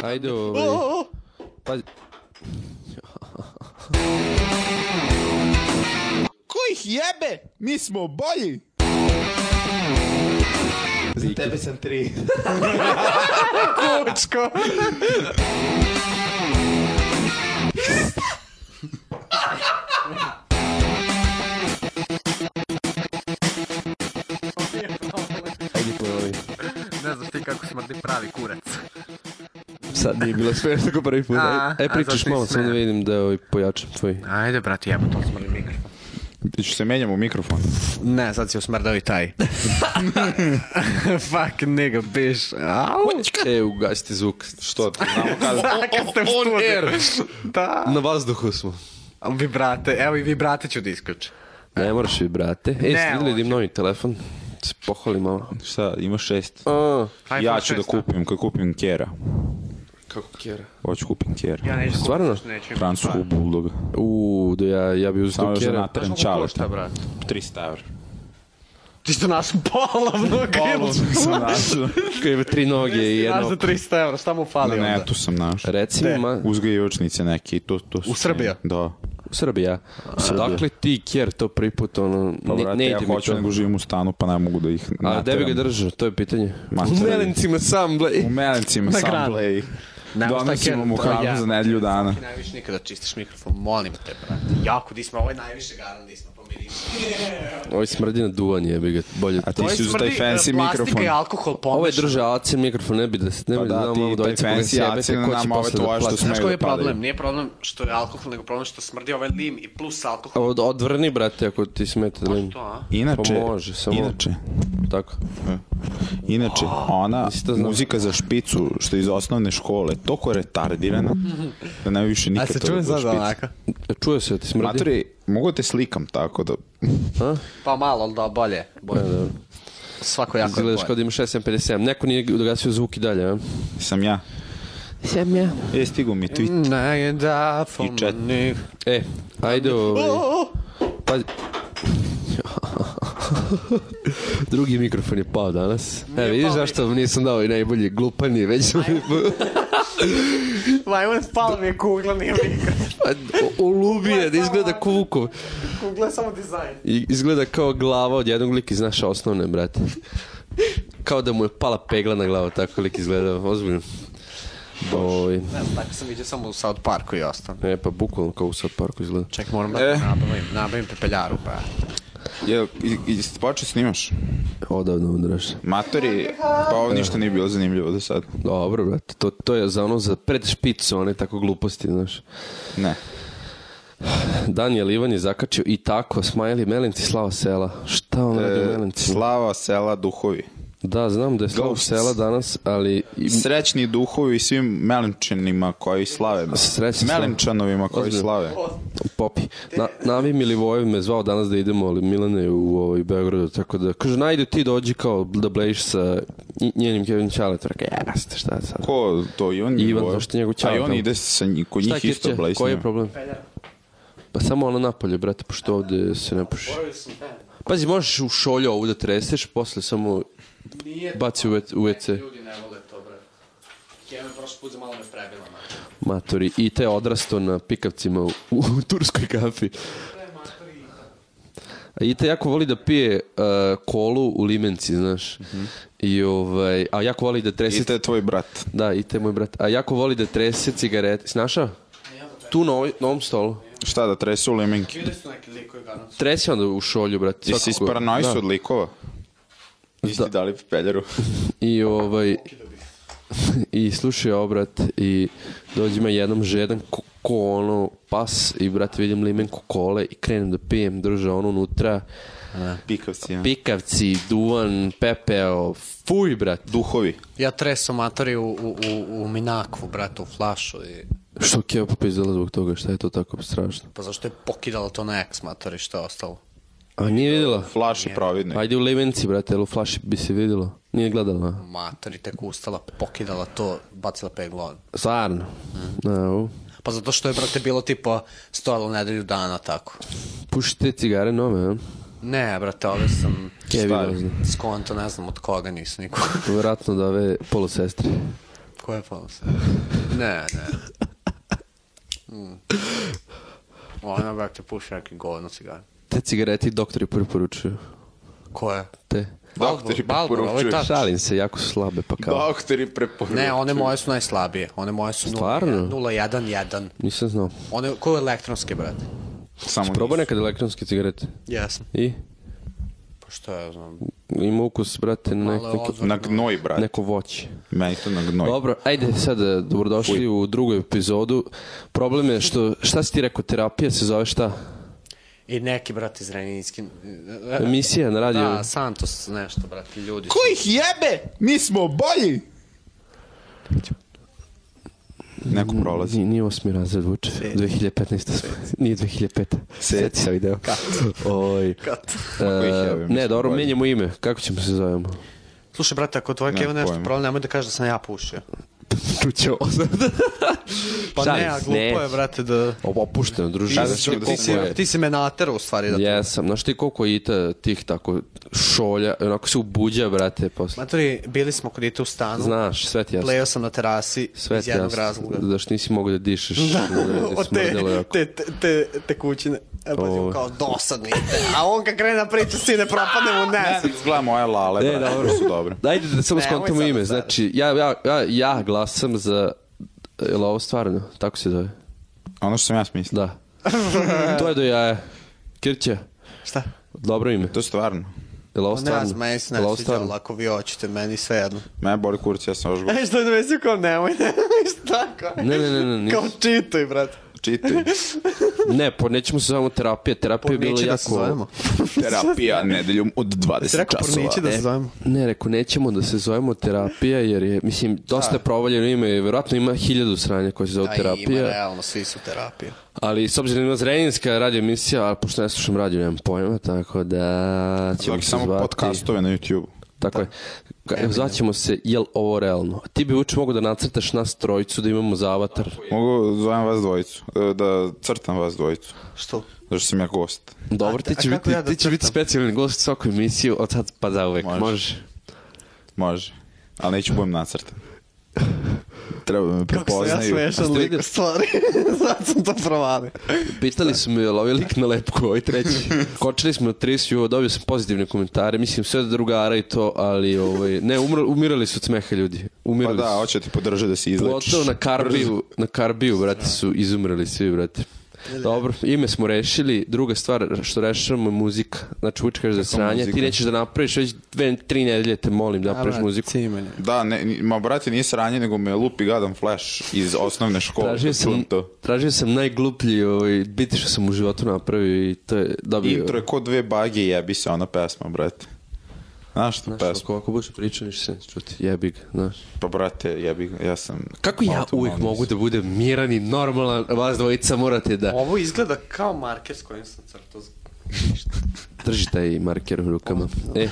Vai, Douglas. Oh, oh, Faz- Kuj jebe, mi smo bolji. Za tebe sem tri. Kučko. Ajde, ovaj. ponovi. Ne znaš ti kako smrdi pravi kurec. Sad nije bilo sve tako prvi put. A, E, a pričaš zato malo, i samo da smem. vidim da ovaj pojačam tvoj. Ajde, brati, jebo to smrdi mikrofon. Ti se menjamo mikrofon. Ne, sad si usmrdao i taj. Fuck, nigga, biš. Au. E, ugasite zvuk. Što? Kad ste u studiju. Da. Na vazduhu smo. A Vi brate, evo i vi brate ću da isključim. Ne moraš vi, brate. E, ste vidjeli hoću. da im novi telefon? Se pohvali malo. Šta, imaš šest? A, ja iPhone ću da 6, a? kupim, kad kupim Kjera. kako kjera? Hoću kupim Kjera. Ja neću Stvarno? kupiti, neću. Francusku buldoga. Uuu, da ja, ja bi uzeo Samo to još da kjera. Pa, natrem Znaš koliko čale. košta, brate? 300 evra. Ti što našu polovnu Polovno grilicu. sam našao. Kaj, tri noge i Znaš jedno. za 300 evra, šta mu fali Na onda? netu sam našao. Reci mi, ma, Uzgajivačnice neke i to, to su... U Srbija? Da. Srbija. Dakle ti kjer to prvi put ono Pa ne, brate, ne ja ide mi hoću to. nego živim u stanu, pa ne mogu da ih A gde bi ga nateram. držao? To je pitanje. Materam. U melencima sam, ble. U melencima Na sam granu. blej. Ne, šta Donosimo Kjera, mu to hranu ja. za nedelju dana. Ti najviše nikada čistiš mikrofon, molim te, brate. Jako disma, ovo je najviše garan disma, pomiriši. Ovo smrdi na duvanje, jebi ga. Bolje A to. ti si uz taj е, fancy Plastika i mikrofon. alkohol pomešan. Ovo je držao acen mikrofon, ne bi da se ne Pa bi da, da ti malo taj dvojica koga fancy sjebete, acen, ko će nama ovo posle da tvoje što plati? sme- Znaš koji je padaju. problem? Nije problem što je alkohol, nego problem što smrdi ovaj lim i plus alkohol. Od, odvrni, brate, ako ti smete da To, a? Inače, Pa može, samo- inače, Tako. inače, ona nisi to znao. muzika za špicu što je iz osnovne škole, toliko je retardirana da ne bi više nikad to da bude špica. E, Čuje se, da ti smrdi? Maturi, mogu da te slikam tako da... A? Pa malo, ali da, bolje. Bolje, dobro. Svako jako je Izgledaš kao bolje. da imaš 757. Neko nije dogasio zvuk i dalje, a? Sam ja. Sam ja. E, stigu mi tweet. Ne, da, for I čet- money. E, ajde ovaj... Pazi. Drugi mikrofon je pao danas. E, vidiš pao zašto vam nisam dao i najbolji glupan je već... Majmun spala mi je kugla, nije mikrofon. Pa, Olubije, da izgleda ko Vukov. Kugla je samo dizajn. I izgleda kao glava od jednog lika iz naše osnovne, brate. Kao da mu je pala pegla na glavu, tako lik izgleda, ozbiljno. Oj, Ne znam, tako sam vidio samo u South Parku i ostalo. e, pa bukvalno kao u South Parku izgleda. Ček, moram da E. nabavim, nabavim pepeljaru, pa. Jel, i- i- jesi počeo snimaš? Odavno udraš. Matori, pa ovo ništa nije bilo zanimljivo do sad. Dobro, brate, to, to je za ono za pred špicu, one tako gluposti, znaš. Ne. Daniel Ivan je zakačio i tako, smajli Melenci Slava Sela. Šta on radi u E, Melenci? slava, sela, duhovi. Da, znam da je Slava Ghosts. Sela danas, ali... i- Srećni duhovi svim melenčanima koji slave. Srećni slav- Melenčanovima koji Ozbiljno. slave. Popi. Na, Navi Milivojev me zvao danas da idemo, ali Milane je u ovaj, Beogradu, tako da... Kaže, najde ti dođi kao da blejiš sa nj- njenim Kevin Ćaletom. Rekao, jebast, šta je sad? Ko to? Ivan Milivojev? Ivan, zašto njegov ćao A i on tamo? ide sa nji- kod Šta njih isto Kirće? blesnja. Koji je problem? Pa samo ono napolje, brate, pošto ovde se ne puši. Pazi, možeš u šolju ovu da treseš, posle samo Nije baci u, ve- u WC. Ljudi ne vole to, bre. Kjeva je prošli put za malo me prebila, mače. Matori, i te odrasto na pikavcima u, u turskoj kafi. A Ita jako voli da pije uh, kolu u limenci, znaš. I ovaj, a jako voli da trese... Iste je tvoj brat. Da, Ita je moj brat. A jako voli da trese cigarete. Si našao? Tu na, ovoj, na ovom stolu. Šta da tresu u limenki? Bili su neki likovi garant. Trese onda u šolju, brate. Ti si svakako. isparanoj Da. od likova. Nisi Da. ti dali pepeljaru. I ovaj... I slušaj obrat i dođe me jednom žedan ko, ko ono pas i brate vidim limenku kole i krenem da pijem, drža ono unutra. Pikavci, ja. Pikavci, duvan, pepeo, fuj brate. Duhovi. Ja treso matori u, u, u, u Minakvu, brate, u flašu i... Što Keva popizdala zbog toga, šta je to tako strašno? Pa zašto je pokidala to na ex matori, što je ostalo? A nije vidjela? Flaše providne. Ajde u limenci brate, jel u flaši bi se vidjelo. Nije gledala. a? Matori tek ustala, pokidala to, bacila peglon. Stvarno. Da, u. Pa zato što je, brate, bilo tipa stojalo nedelju dana, tako. Puši te cigare nove, a? Ne, brate, ove sam Kevi Stari. dozna. skonto, ne znam od koga, nisam niko. Vjerojatno da ove polosestre. Ko je pa se? Ne, ne. Mm. Ona, brate, puši neki govno cigar. Te cigarete i doktori preporučuju. Ko je? Te. Doktori Marlboro, ovo je preporučuju. touch. Šalim se, jako su slabe, pa kao. Doktori preporučuju. Ne, one moje su najslabije. One moje su Stvarno? 0,1,1. Nisam znao. One, ko je elektronske, brate? Samo Probao nisu. nekad elektronske cigarete. Jesam. I? Pa šta ja znam. Ima ukus, brate, nek, Malo je neko, odvratno. Na gnoj, brate. neko voće. Meni to na gnoj. Dobro, ajde sad, e, dobrodošli u drugu epizodu. Problem je što, šta si ti rekao, terapija se zove šta? I neki, brate, iz Renijinski... Pa Emisija na radiju. Da, Santos, nešto, brate, ljudi. Ko ih jebe? Mi smo bolji! Mm. Neko prolazi. Nije, nije osmi razred, vuče. 2015. smo. Nije 2005. Sjeti se ovaj deo. Oj. Kad? Kako ih E, javim? ne, dobro, menjamo ime. Kako ćemo se zovemo? Slušaj, brate, ako tvoj Kevin nešto pojma. problem, nemoj da kažeš da sam ja pušio. Čućeo. Pa Šalim ne, a se, glupo ne. je, brate, da... Ovo opušteno, druži. Kada Znaš ćemo ti da koliko se je? Ti si me naterao, u stvari, da... Jesam, znaš ti koliko je ita tih tako šolja, onako se ubuđa, brate, posle. Matori, bili smo kod ite u stanu. Znaš, sve ti jasno. Plejao sam na terasi Sve iz ti jednog jasno. razloga. Da što nisi mogao da dišeš. Da. Od te, Smrdelo jako. te, te, te, te kućine. E, pa Ovo. on kao dosadni. A on kad krene na priču, sine, propadne mu Ne, nes. izgleda moje lale, E, brate, dobro. to su dobre. Dajde da samo Nemoj skontamo sada, ime. stari. Znači, ja, ja, ja, ja glasam za... Je li ovo stvarno? Tako se zove. Ono što sam ja smislio. Da. to je do jaja. Kirća, Šta? dobro ime. To je stvarno. Je li ovo Pa Ne stvarno? znam, meni se Je li ne ovo sviđa, stvarno? ali ako vi hoćete, meni sve jedno. Mene boli kurac, ja sam još gore. E, što je dovesio kao nemoj, nemoj, šta kao? Ne, ne, ne, ne, nis- Kao čituj, brate. Čitaj. Ne, po nećemo se zovemo terapija. Terapija je bila Porniće jako... da se zovemo. Terapija nedeljom od 20 Si rekao časova. E, porniće da se zovemo. Ne, rekao, nećemo da se zovemo terapija, jer je, mislim, dosta provaljeno ime, verovatno ima hiljadu sranja koje se zove Da, ima, terapija, realno, svi su terapija. ali s obzirom da ima zrenjinska radio emisija, a pošto ne slušam radio, nemam pojma, tako da ćemo Zvaki se znači, samo zvati... podcastove na YouTube. Tako je. Ka- Zvaćemo se, jel ovo realno? A Ti bi uče mogo da nacrtaš nas trojicu, da imamo za avatar. Mogu zovem vas dvojicu, e, da crtam vas dvojicu, Što? zato što sam ja gost. Dobro, A- ti a će kako biti, ja da ti će biti crtam? specijalni gost u svakoj emisiji od sad pa za uvek. Može. Može. Može, ali neću budem nacrtan. Treba da me Kako sam ja prepoznaju. smešan lik, lik, u stvari. Sad sam to provalio. Pitali smo je ovaj lik na lepku, ovaj treći. Kočili smo na 30 juva, dobio sam pozitivne komentare, mislim sve od drugara i to, ali ovaj, ne, umro, umirali su od smeha ljudi. Pa Umirali da, su. hoće ti podržati da se izlečiš. Pogotovo na Karbiju, na Karbiju, brate, su izumrli svi, brate. Dobro, ime smo rešili, druga stvar što rešavamo je muzika. Znači, uči kažeš da je sranje, muzika? ti nećeš da napraviš već dve, tri nedelje, te molim da napraviš muziku. Da, ne, ni- ma brate, nije sranje, nego me lupi gadan flash iz osnovne škole. Tražio kad čujem sam, to. tražio sam najgluplji ovaj, biti što sam u životu napravio i to je dobio... Intro je ko dve bage i jebi se ona pesma, brate. Znaš tu Znaš, pesmu? ako, ako budeš pričao, ništa se neće čuti. Jebi ga, znaš. Pa brate, jebi ga, ja sam... Kako ja Malo tu uvijek malo mogu da budem miran i normalan, vas dvojica morate da Ovo izgleda kao marker s kojim sam crtao. drži taj marker u rukama. E,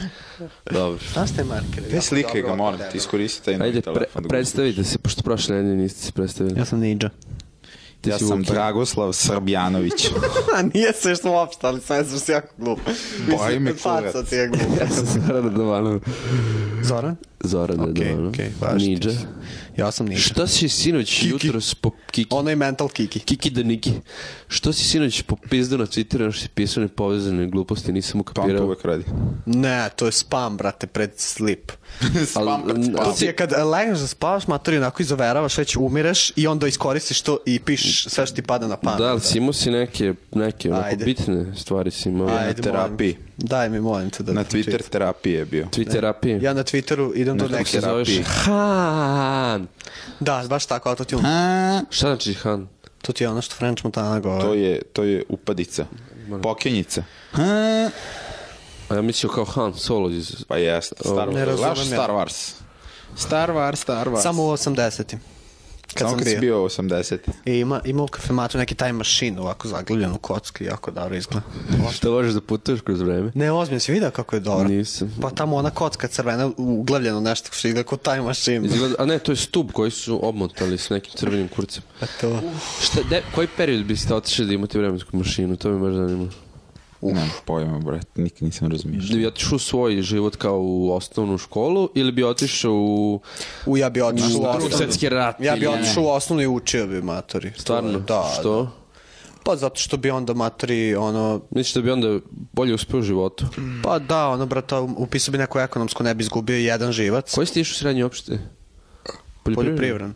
dobro. Šta ste markeri? Te slike ga moram, ti iskoristi taj novi Ajde, telefon. pre, da ga predstavite se, pošto prošle nedelje niste se predstavili. Ja sam ninja. Ti ja si sam Vuki. Dragoslav Srbljanović. A nije se što uopšte, ali sam sam si jako glup. Mislim, me faca Faca kurac. ti ti je glup. Ja sam Zoran Dovanov. Zoran? Zoran Pa, Okej, Dovanov. okej, važi ti Ninja. se. Ja sam ninja. Šta si sinoć jutros po Kiki? Ono je mental kiki. Kiki da Niki. Što si sinoć popizdao na Twitteru, ono što si pisao nepovezane gluposti, nisam To on to ukapirao. uvek radi. Ne, to je spam, brate, pred sleep. Spam pred n- spam. To ti je kad legneš da spavaš, matori onako izoveravaš, već umireš i onda iskoristiš to i pišeš sve što ti pada na pamet. Da, ali si imao si neke, neke onako Ajde. bitne stvari si imao. Ajde, na terapiji. molim. Daj mi, molim te da Na ti pročitam. Twitter terapije je bio. Tvi terapije. Ja na Twitteru idem do Kako nekog. se zoveš? terapiji. Han. Da, baš tako, autotune. A, Šta znači Han? ono- To ti je ono što French Montana govori. to je, to je upadica. Pokenjica. A ja mislio kao Han Solo iz... Pa jeste, Star Wars. Ne razumem Znaš ja. Star Wars. Star Wars, Star Wars. Samo u 80-im. Kad Samo sam kad si bio. bio 80. I ima, ima u kafematu neki time machine ovako zaglavljen u kocki, jako dobro izgleda. Šta možeš da putuješ kroz vreme? Ne, ozbiljno si vidio kako je dobro. Nisam. Pa tamo ona kocka crvena, uglavljeno nešto što izgleda kao time machine. Izgleda, a ne, to je stub koji su obmotali s nekim crvenim kurcem. To. Šta, de, koji period biste otišli da imate vremensku mašinu? To me baš zanima. Uf. Nemam pojma, brat, nikad nisam razmišljao. Da bi otišao u svoj život kao u osnovnu školu ili bi otišao u U, ja bi otišao u drugi osnovnu. svetski rat? Ja bi ili- otišao u osnovnu i učio bi matori. Stvarno? Da. Što? Pa zato što bi onda matori, ono, Misliš da bi onda bolje uspeo u životu? pa da, ono, brata, upisao bi neko ekonomsko, ne bi izgubio i jedan živac. Koji si ti išao u srednje opšte? Poljoprivredno.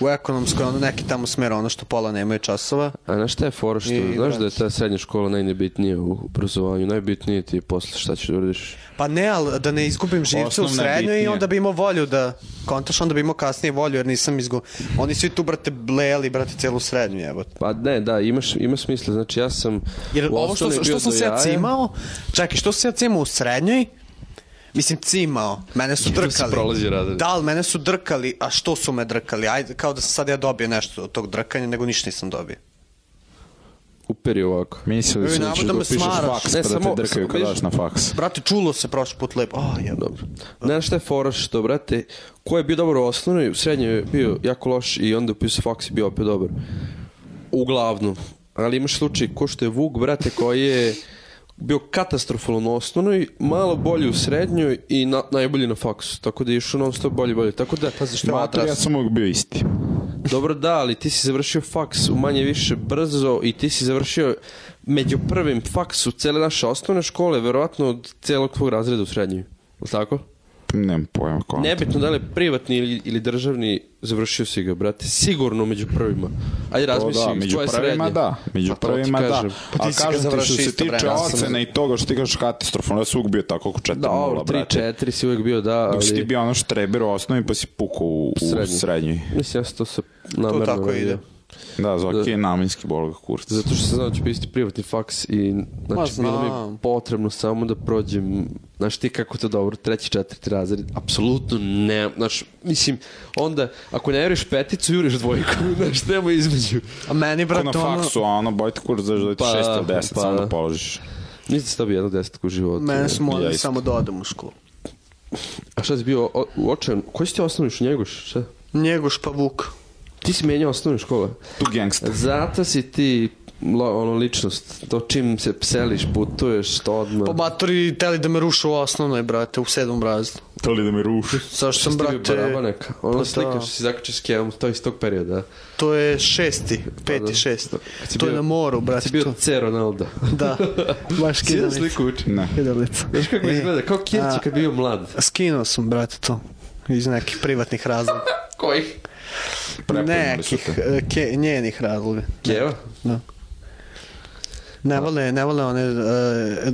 U ekonomskoj, ono, neki tamo smer, ono što pola nemaju časova. A na šta je fora što, I- znaš da je ta srednja škola najnebitnija u obrazovanju, najbitnije ti je posle šta ćeš da uradiš. Pa ne, ali da ne izgubim živce u Osnovna je srednjoj i bitnija. onda bi imao volju da, kontaš, onda bi imao kasnije volju jer nisam izgubio. Oni svi tu, brate, blejali, brate, celu srednju, jebote. Pa ne, da, imaš, ima smisla, znači ja sam Jer u ovo što, osnovnoj bio što sam do se ja jaja. cimao, čekaj, što sam se ja cimao u srednjoj, Mislim, cimao. Mene su Jednom si drkali. prolazio razred. Da, ali mene su drkali. A što su me drkali? Ajde, kao da sam sad ja dobio nešto od tog drkanja, nego ništa nisam dobio. Uperi ovako. Mislio Joj, sam da ćeš navodno da me upišeš smaraš. faks, Ne, pa da E, samo- te drkaju kad vidiš- daš na faks. Brate, čulo se prošli put lepo. Oh, jebno. Dobro. Znaš šta je fora što, brate, ko je bio dobar u osnovnoj, u srednjoj je bio jako loš i onda upisao faks i bio opet dobar. Uglavnom. Ali imaš slučaj ko što je Vuk, brate, koji je bio katastrofalan u osnovnoj, malo bolji u srednjoj i na, najbolji na faksu. Tako da je išao non stop bolje i bolje. Tako da, pazi što Mater, ja sam uvijek bio isti. Dobro da, ali ti si završio faks u manje više brzo i ti si završio među prvim faksu cele naše osnovne škole, verovatno od celog tvog razreda u srednjoj. Je li tako? Nemam pojma kako. Nebitno da li je privatni ili, ili državni, završio si ga, brate. Sigurno među prvima. Ajde, To razmisli, da, među tvoje prvima srednje. da, među Pa to ti prvima da. kažem. Pa A ti si ga kažem ti što završio se isto vreme, tiče ja sam- ocena i toga što ti kažeš katastrofalno, ja sam uvijek bio tako oko 4-0, Da, ovo, brate. 3-4 si uvijek bio, da, Dok si ti ali... bio ono štreber u osnovi pa si pukao u, u Srednji. srednjoj. Mislim, ja sam to sa namerno tako radio. ide. Da, Zoki je namenski bologa kurac. Zato što sam znao da ću pisati privatni faks i znači, znam. bilo mi je potrebno samo da prođem, znaš ti kako to dobro, treći, četvrti razred, apsolutno ne, znaš, mislim, onda ako ne juriš peticu, juriš dvojku, znaš, nema između. A meni, Ko na brate, ono... faksu, a ono, bojte kurac da ti Pa, 6 ili 10, pa samo da. da položiš. Mislim da si dobio jednu desetku u životu. Mene su Ja molili isto. samo da odem u školu. A šta si bio o- uočen? Koji si ti osnovni u Njegoš? Šta? Njegoš pa Vuk. Ti si menjao osnovne škole. Tu gangsta. Zato si ti lo- ono ličnost, to čim se pseliš, putuješ, to odmah. Pa matori teli da me rušu u osnovnoj, brate, u sedmom razdu. To li da mi ruši? Zašto sam, Brate, brate... barabanek. Ono pa da. slikaš si zakače s kemom, to je iz tog perioda. To je šesti, peti, da. šesti. Kad si To je bio- na moru, Kad brate. si bio to- C Ronaldo. Da, baš Si da kidalica. sliku uči. Ne. Kidalica. Znaš kako E, izgleda? Kao Kirć a- kad bio mlad. Skinuo sam, brate, to. Iz nekih privatnih razloga. Kojih? Prepoznali su Nekih te. e, ke, njenih razloga. Keva? Da. Ne vole, ne vole one... e,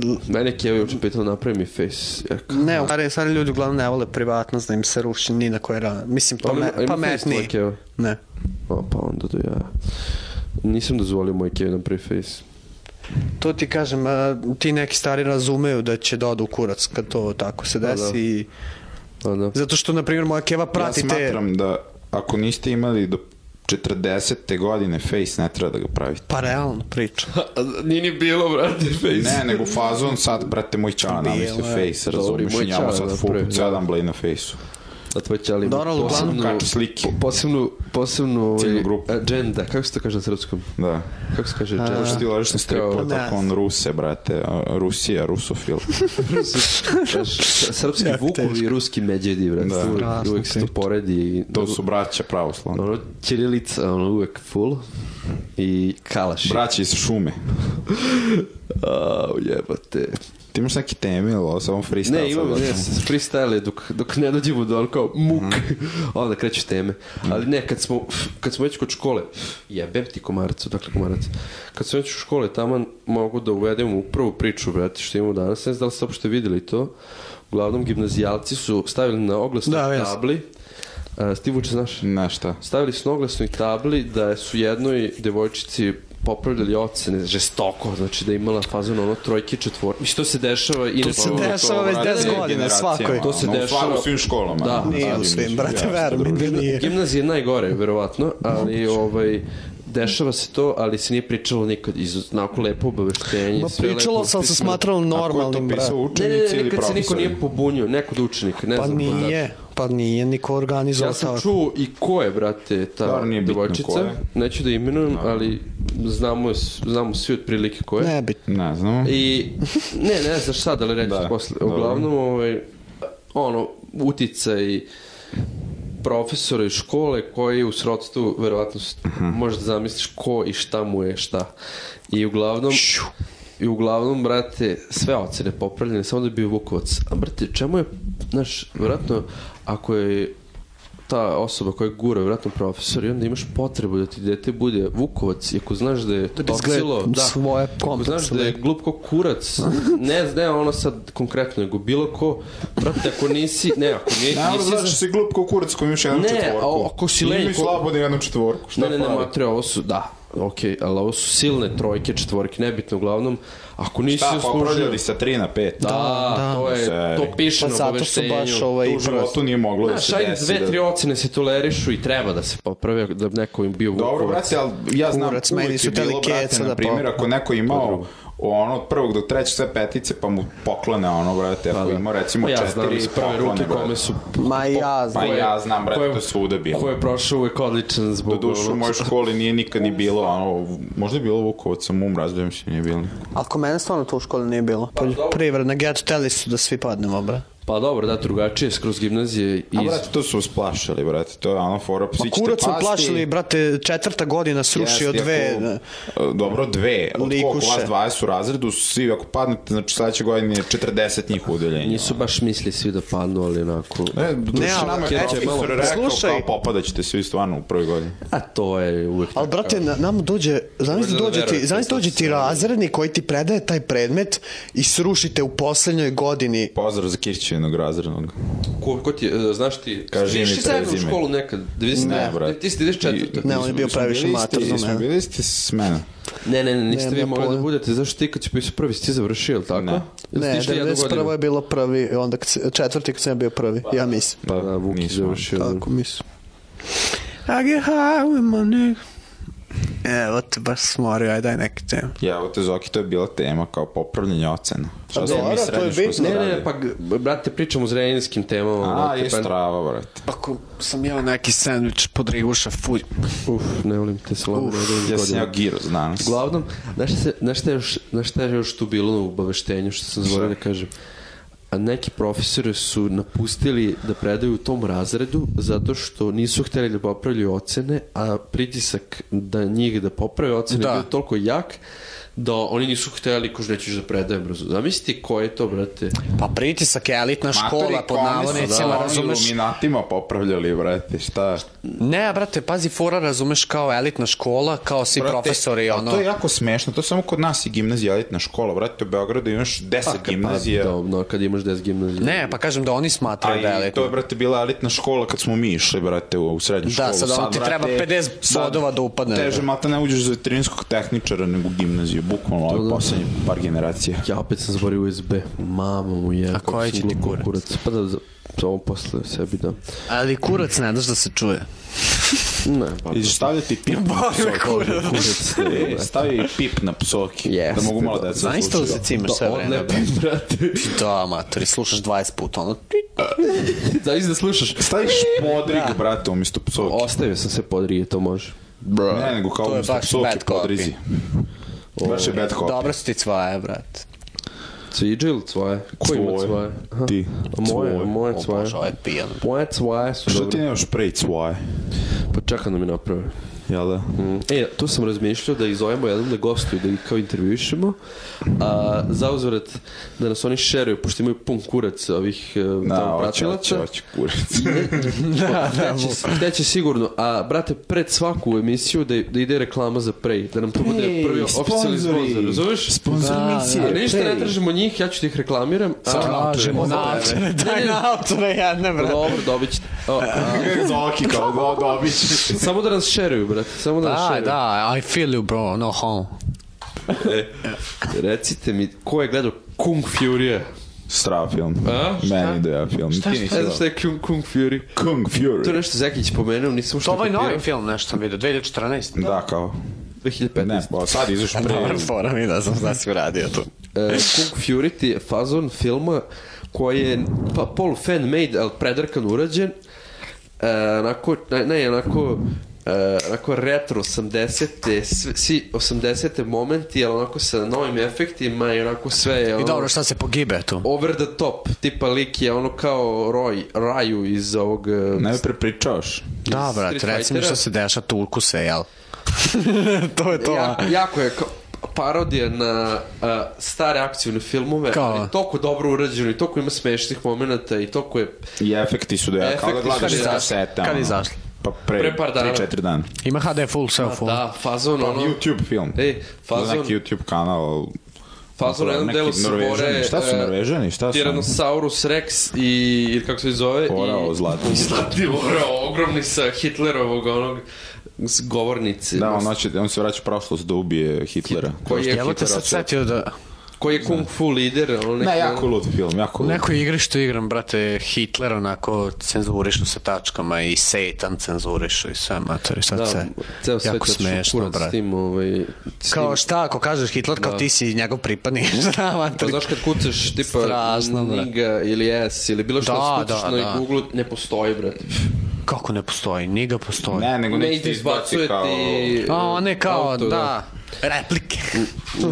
l- Mene je Keva juče pitao napravi mi face. Ja kao, ne, stari, stari ljudi uglavnom ne vole privatnost da im se ruši ni na koje razloga. Mislim, "Pa, pame, ima- ima face tvoja pametniji. Keva. Ne. O, pa onda do ja. Nisam dozvolio moj Keva na preface. To ti kažem, e, ti neki stari razumeju da će da odu u kurac kad to tako se desi. da. i- Da, da. Zato što, na primjer, moja keva Pa Ja prati te... smatram da ako niste imali do 40. godine face, ne treba da ga pravite. Pa realno priča. Nije ni bilo, brate, Ne, nego fazon sad, brate, moj čala namislio Bilo je. face, Dobri, razumiješ, moj i njamo čala sad napravio, fuku, da. sedam blej na face-u. A tvoj ćali ima Dobro, ali uglavnom- posebnu- Kaču slike. po- Posebnu, posebnu ovaj, Ciljnu grupu. agenda. Kako se to kaže na srpskom? Da. Kako se kaže agenda? Što ti ložiš na stripu, Kao- tako on Ruse, brate, a, Rusija, rusofil. Znaš, srpski vukovi i ruski međedi, brate. Da. Uvijek, Strašno uvijek se to priča. poredi. I, To su braća pravoslavna. Ono, Čirilica, ono, uvek full. I kalaši. Braća iz šume. Au, jebate. Ti imaš neke teme ili ovo samo freestyle? Ne, sad imamo, vrtimo? ne, s- freestyle je dok, dok ne dođemo do ono kao muk, onda kreću teme. Ali ne, kad smo, kad smo već kod škole, jebem ti komarac, odakle komarac. Kad smo već u škole, tamo mogu da uvedem u prvu priču, brate, što imamo danas. Ne znam da li ste uopšte vidjeli to. Uglavnom, gimnazijalci su stavili na oglasnoj Da, ja sam. tabli. Uh, Steve Vuče, znaš? Ne, šta? Stavili su na oglasnoj tabli da su jednoj devojčici popravljali ocene žestoko, znači da je imala fazon ono trojke, četvorke. Mislim, to se dešava i To na- se dešava već brate, 10 godina, generacijama, svakoj. To se ono, u dešava- stvarno u svim školama. Da. ono, Nije u ali svim, mislim, brate, ja, verujem da nije. Gimnazija je najgore, verovatno, ali ovaj, dešava se to, ali se nije pričalo nikad iz onako lepo obaveštenje. Ma sve pričalo lepo sam se pismeno. smatralo normalnim, Ko je to brate. pisao, Ne, ne, učenici ne, ili nikad se niko profesori? nije pobunio, neko od učenika, ne Pa znam. podatak. nije, pa nije niko organizovao Ja sam tako. čuo i ko je, brate, ta Dobro, nije bitno ko devojčica. je. Neću da imenujem, ali znamo, znamo svi otprilike e, ko je. Nebitno. Ne znamo. I, ne, ne znaš sad, ali reći Mhm. Da, posle. dobro. Uglavnom, ovaj, ono, uticaj profesora iz škole koji je u srodstvu, verovatno, s- Mhm. možeš da zamisliš ko i šta mu je šta. I uglavnom... I uglavnom, brate, sve ocene popravljene, samo da je bio Vukovac. A brate, čemu je, znaš, vjerojatno, ako je ta osoba koja gura, vjerojatno profesor, i onda imaš potrebu da ti dete bude Vukovac, i ako znaš da je Da bi izgledao tocilo, da, svoje ako komplekse, znaš da je glup ko kurac, ne, ne ono sad konkretno, nego bilo ko, brate, ako nisi, ne, ako nije, Naravno, nisi, znaš, si glup ko kurac koji imaš jednu Ne, četvorku. a ako si lenj, Imaju ko- slabo da jednu četvorku. Šta Ne, ne, ne, fali? matre, ovo su, da, okej, ali ovo su silne trojke, četvorke, nebitno, uglavnom, ako nisi Šta, pa služio... popravljali sa 3 na 5. Da, da. to je, Seri. to piše Pa na zato su obaveštenju. baš ovaj... To u životu nije moglo da Znaš, se ajde, desi. dve, da- tri ocene se tolerišu i treba da se poprave da bi neko im bio Dobro, Vukovac. brate, ali ja znam Kurac, meni uvijek su je bilo, hteli brate, keca na da primjer, pa- ako neko je imao ono od prvog do trećeg sve petice, pa mu poklone ono, brate, ako Da. ima recimo Pa ja znam četiri iz prve ruke poklone, brate. kome su... Ma ja Pa znam. Ko je- ja znam, brate, ko je- to je svuda bilo. Ko je prošao uvek odličan zbog... Do duše u ono- mojoj školi nije nikad ni bilo, ono, možda je bilo Vukovac, sam um razdojem se nije bilo. Ali kod mene stvarno to u školi nije bilo. Pa, Poljoprivredna, get, teli su da svi padnemo, bre. Pa dobro, da, drugačije, skroz gimnazije i... A brate, to su usplašili, brate, to je ono fora, Pa svi ćete kurac su pasti. plašili, brate, četvrta godina srušio Jeste, dve... ako- E, Dobro, dve. Od koliko Likuše. vas 20 u razredu, svi ako padnete, znači sledeće godine je 40 njih u udeljenju. Nisu baš mislili svi da padnu, ali onako... Ne, duše Ne, ali znači, nama je Keć je profesor malo- rekao Slušaj. kao popadat ćete svi stvarno u prvoj godini. A to je uvek... Ali, brate, na, nam dođe, zamisli Možda da dođe ti, verujete, zamisli to dođe ti se- razredni koji ti predaje taj predmet i srušite u poslednjoj godini. Pozdrav za Kirćevinog razrednog. Ko, ko ti, je, e, znaš ti... Kaži mi Išli zajedno u prezime. školu nekad? Ne, brate. Ti si 94. Ne, on je bio previše mator za Smo mene. bili ste s mene. Ne, ne, ne, niste Nemam vi ja morali da pojma. budete, zašto ti kad si pisao prvi, si ti završio, ili tako? Ne. Ili ste Ne, išli jednu 91. godinu? je bilo prvi, onda kad se- četvrti kad sam ja bio prvi, ja mislim. Pa da, Vuk je Nismo. završio. Tako mislim. I get high with my nigga. Evo te baš smorio, aj daj neke teme. Ja, evo te Zoki, to je bila tema kao popravljanje ocena. Šta smo Pa dobro, mi to je srednje bitno. školstvo Ne, ne, radili? ne, pa, g- brate, pričamo o zrenjanskim temama. A, brate, je pa- strava, brate. Ako sam jeo neki sandvič pod riguša, fuj. Uf, ne volim te salame. ne volim Ja sam godine. ja giros danas. Uglavnom, znaš šta, se- znaš šta, je još, znaš šta je još tu bilo u obaveštenju, što sam zaboravio da kažem? A neki profesori su napustili da predaju u tom razredu zato što nisu hteli da popravljaju ocene, a pritisak da njih da poprave ocene Da. je bio toliko jak da oni nisu hteli kož nećeš da predajem brzo. Zamisli ko je to, brate. Pa pritisak je elitna Matori, škola, pod kome su navodnicima, da, razumeš? Iluminatima popravljali, brate, šta? Ne, brate, pazi, fora razumeš kao elitna škola, kao svi Brate, profesori, a ono... To je jako smešno, to samo kod nas je gimnazija elitna škola, brate, u Beogradu imaš 10 pa gimnazija. Dobno, kad imaš 10 gimnazija. Ne, pa kažem da oni smatraju da je A i elitna. to je, brate, bila elitna škola kad smo mi išli, brate, u, u srednju Da, školu. sad ono ti treba 50 bodova da upadne, Teže, brate. mata ne uđeš za veterinskog tehničara nego u gimnaziju, bukvalno ove poslednje par generacija. Ja opet sam zaborio USB. Mamo mu je. A koji će ti kurac? Pa da, za, za ovo posle sebi da. Ali kurac ne daš da se čuje. Ne, pa I stavljati pip na psoki. kurac. E, Stavi pip na psoki, da Jeste, mogu malo deca da Znaš slušaju. da se cimaš sve vreme? Odlepim, Pa brate. Da, matori, slušaš 20 puta, ono... Zavis da slušaš. Pa Staviš podrig, brate, umjesto psoki. Ostavio sam se podrije, to može. Bro. Ne, nego kao to je umjesto baš psoki bad copy. podrizi. Baš je bad copy. Dobro su ti cvaje, brat. Cviđe ili cvaje? Ko ima cvaje? Aha. Ti. A moje, Cvoje. moje O cvaje. bože, ovo je pijan. Moje cvaje su Što ti dobre. nemaš prej cvoje? Pa čekam da mi naprave. Jel da? E, tu sam razmišljao da ih zovemo jednom da gostuju, da ih kao intervjuišemo. A, za uzvrat da nas oni šeruju, pošto imaju pun kurac ovih e, Da, tamo hoće, hoće, pratilaca. hoće, kurac. Gde će sigurno, a brate, pred svaku emisiju da, da ide reklama za Prej, da nam to bude prvi oficijalni sponsor, razumeš? Sponzor Da, emisije. A ništa ne Prej. tražimo njih, ja ću da ih reklamiram. A, Tražimo na autore, daj na autore, ja ne, brat. dobro, dobit ćete. O, a, Zoki kao da dobit ćeš. samo da nas šeruju, brate, samo da nas Da, šeruju. da, I feel you, bro, no home. Recite mi, ko je gledao Kung Fury-a? Strava film. A? Šta? Meni da ja film. Šta, šta, Ne znam šta je Kung, Kung Fury. Kung To je Fury. nešto Zekić pomenuo, nisam što To ovaj novi film nešto sam vidio, 2014. Da, kao. 2015. Ne, pa sad izašao pre... fora mi da sam da si uradio to. E, Kung Fury ti je fazon filma koji je pa polu fan made, ali predrkan urađen. E, onako, Eh, ne, ne, onako e, onako retro 80-te, sve- svi 80-te momenti, ali onako sa novim efektima i onako sve je ono, I dobro, šta se pogibe tu? over the top, tipa lik je ono kao Roy, Raju iz ovog... e, Najpre pričaoš. Da, Street brate, reci mi Fightera. što se deša tu ukuse, jel? to je to. Ja, Ja, jako je kao parodija na uh, stare akcijne filmove, Kao? ali toliko dobro urađeno i toliko ima smešnih momenta i toliko je... I efekti su da ja kao da Efekti gledaš su iz da- kaseta. kad ono. izašli? Pa pre, Pre par dana. 3-4 dana. Ima HD full, sve u full. Da, fazon, ono... pa YouTube film. Ej, Fazon... fazon, Neki YouTube kanal. fazon u jednom ono, neki delu se Norvežani. bore... Šta su e, Norvežani? Šta su? Tyrannosaurus Rex i, ili kako se već zove... Orao i, zlatni. Zlatni orao, ogromni sa Hitlerovog onog s govornice. Da, ono, on, hoće, on se vraća u prošlost da ubije Hitlera. koji je, Jel te sad setio da... koji je kung fu lider, on neki... ono, Ne, jako lud film, jako U lud. nekoj igri što igram, brate, Hitler onako cenzurišu sa tačkama i Satan cenzurišu i sve, mater, i sad Da, se ceo svet jako otišao smešno, kurac s brate. tim, ovaj, s tim Kao šta, ako kažeš Hitler, kao ti si njegov pripadnik, znam, Pa mater. znaš kad kucaš tipa Strašno, brate. Niga ili S ili bilo što Da, da, skucaš na da, da. Google ne postoji brate. Kako ne postoji, niga postoji. Ne, nego Ne neki ti izbacuje izbaci kao... ti A one kao, auto, da, replike.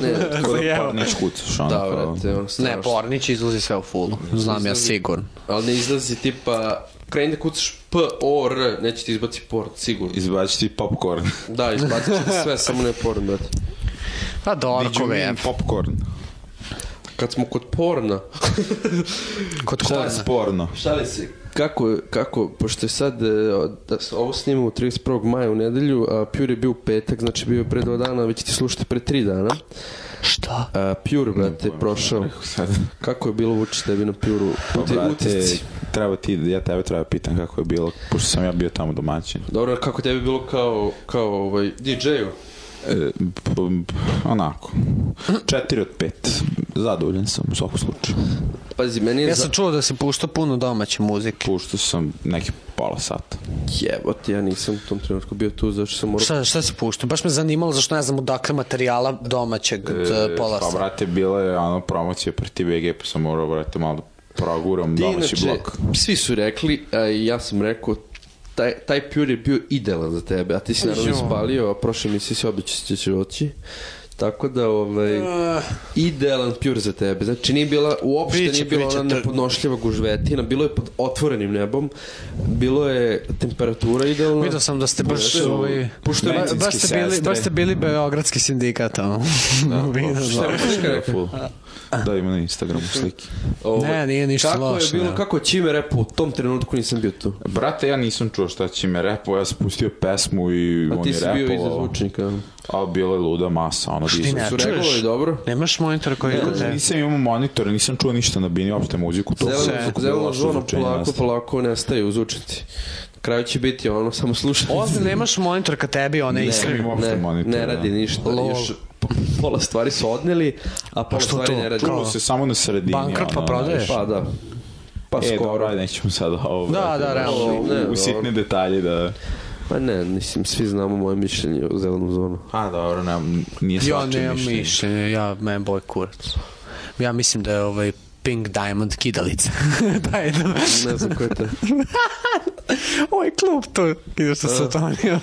Ne, Kao da Evo. pornić kucaš, ono da kao... brate, ono strašno. Ne, Pornić izlazi sve u fullu, znam ja sigurno. Ali ne izlazi tipa kreni da kucaš P O R, neće ti izbaci porn sigurno. Izbaci ti popcorn. Da, izbacit će ti sve samo ne porn brate. Pa Did you Dorkove je. mean popcorn? Kad smo kod porna, Kod Šta je korna. sporno? Šalim se. Kako, kako, pošto je sad, e, da se ovo snima u 31. maja u nedelju, a Pure je bio u petak, znači bio je pre dva dana, vi ćete slušati pre tri dana. Šta? A, Pure, brate, prošao. Sad, Kako je bilo Vučić tebi na Pjuru? pa Uti- brate, utisci. treba ti, ja tebe treba pitan kako je bilo, pošto sam ja bio tamo domaćin. Dobro, kako tebi je bilo kao, kao ovaj, DJ-u? E, p- p- onako. Četiri od pet. Zadovoljan sam u svakom slučaju. Pazi, meni je Ja za... sam čuo da se pušta puno domaće muzike. Puštao sam neki pola sata. Jebote, ja nisam u tom trenutku bio tu, zašto sam morao... Šta, šta se pušta? Baš me zanimalo zašto ne znam odakle materijala domaćeg od e, pola Pa, sata. brate, bila je ono promocija proti BG, pa sam morao, brate, malo da proguram Ti, domaći inače, blok. Svi su rekli, a i ja sam rekao, taj, taj Pure je bio idealan za tebe, a ti si naravno ispalio, a prošle mi si se obično ćeš oći. Tako da, ovaj, E, idealan Pure za tebe. Znači, nije bila, uopšte Biće, nije bila biće ona tr- nepodnošljiva gužvetina, bilo je pod otvorenim nebom, bilo je temperatura idealna. Vidio sam da ste baš Pošto- ovaj... pošto Ba- je- baš, ste bili, baš ste bili beogradski sindikat ono. tamo. Vidio sam. Šta je Boška rekao? Da, ima na Instagramu slike. Ovo, Ne, nije ništa ovaj, kako loše, je bilo, ne. kako je Čime repu, u tom trenutku nisam bio tu. Brate, ja nisam čuo šta će me repo, ja sam pustio pesmu i A on ti je si bio iza repovao. zvučnika. ono. A bila je luda masa, ono Ti dizao. ne Su reagovali čuješ? dobro? Nemaš monitor koji je kod tebe? Nisam imao monitor, nisam čuo ništa na bini, uopšte muziku. To Zeleno, je bilo zeleno loše zvono zvučenje polako, nastavlja. polako nestaje u zvučnici. Na kraju će biti ono, samo slušaj. Ozbiljno nemaš monitor kad tebi one Nisam iskri. imao uopšte Ne, monitor. ne radi ništa. Lol. Još po- pola stvari su odneli, a Pa pola što stvari to? ne radi. Čulo se samo na sredini. Bankrot pa ono, prodaje? znaš. Pa da. Pa E, skoro. dobro, ajde, nećemo sad ovo. Da, brate, da, realno. u- Ne, dobro. U sitne detalje da... Pa ne, mislim, svi znamo moje mišljenje o zelenom zvonu. A, dobro, ne, nije Ja svačije nemam mišljenje, ja men boj kurac. Ja mislim da je ovaj Pink Diamond kidalica. Daj, da. Ne znam ko je to. E, Ovaj klub to, ideš što se to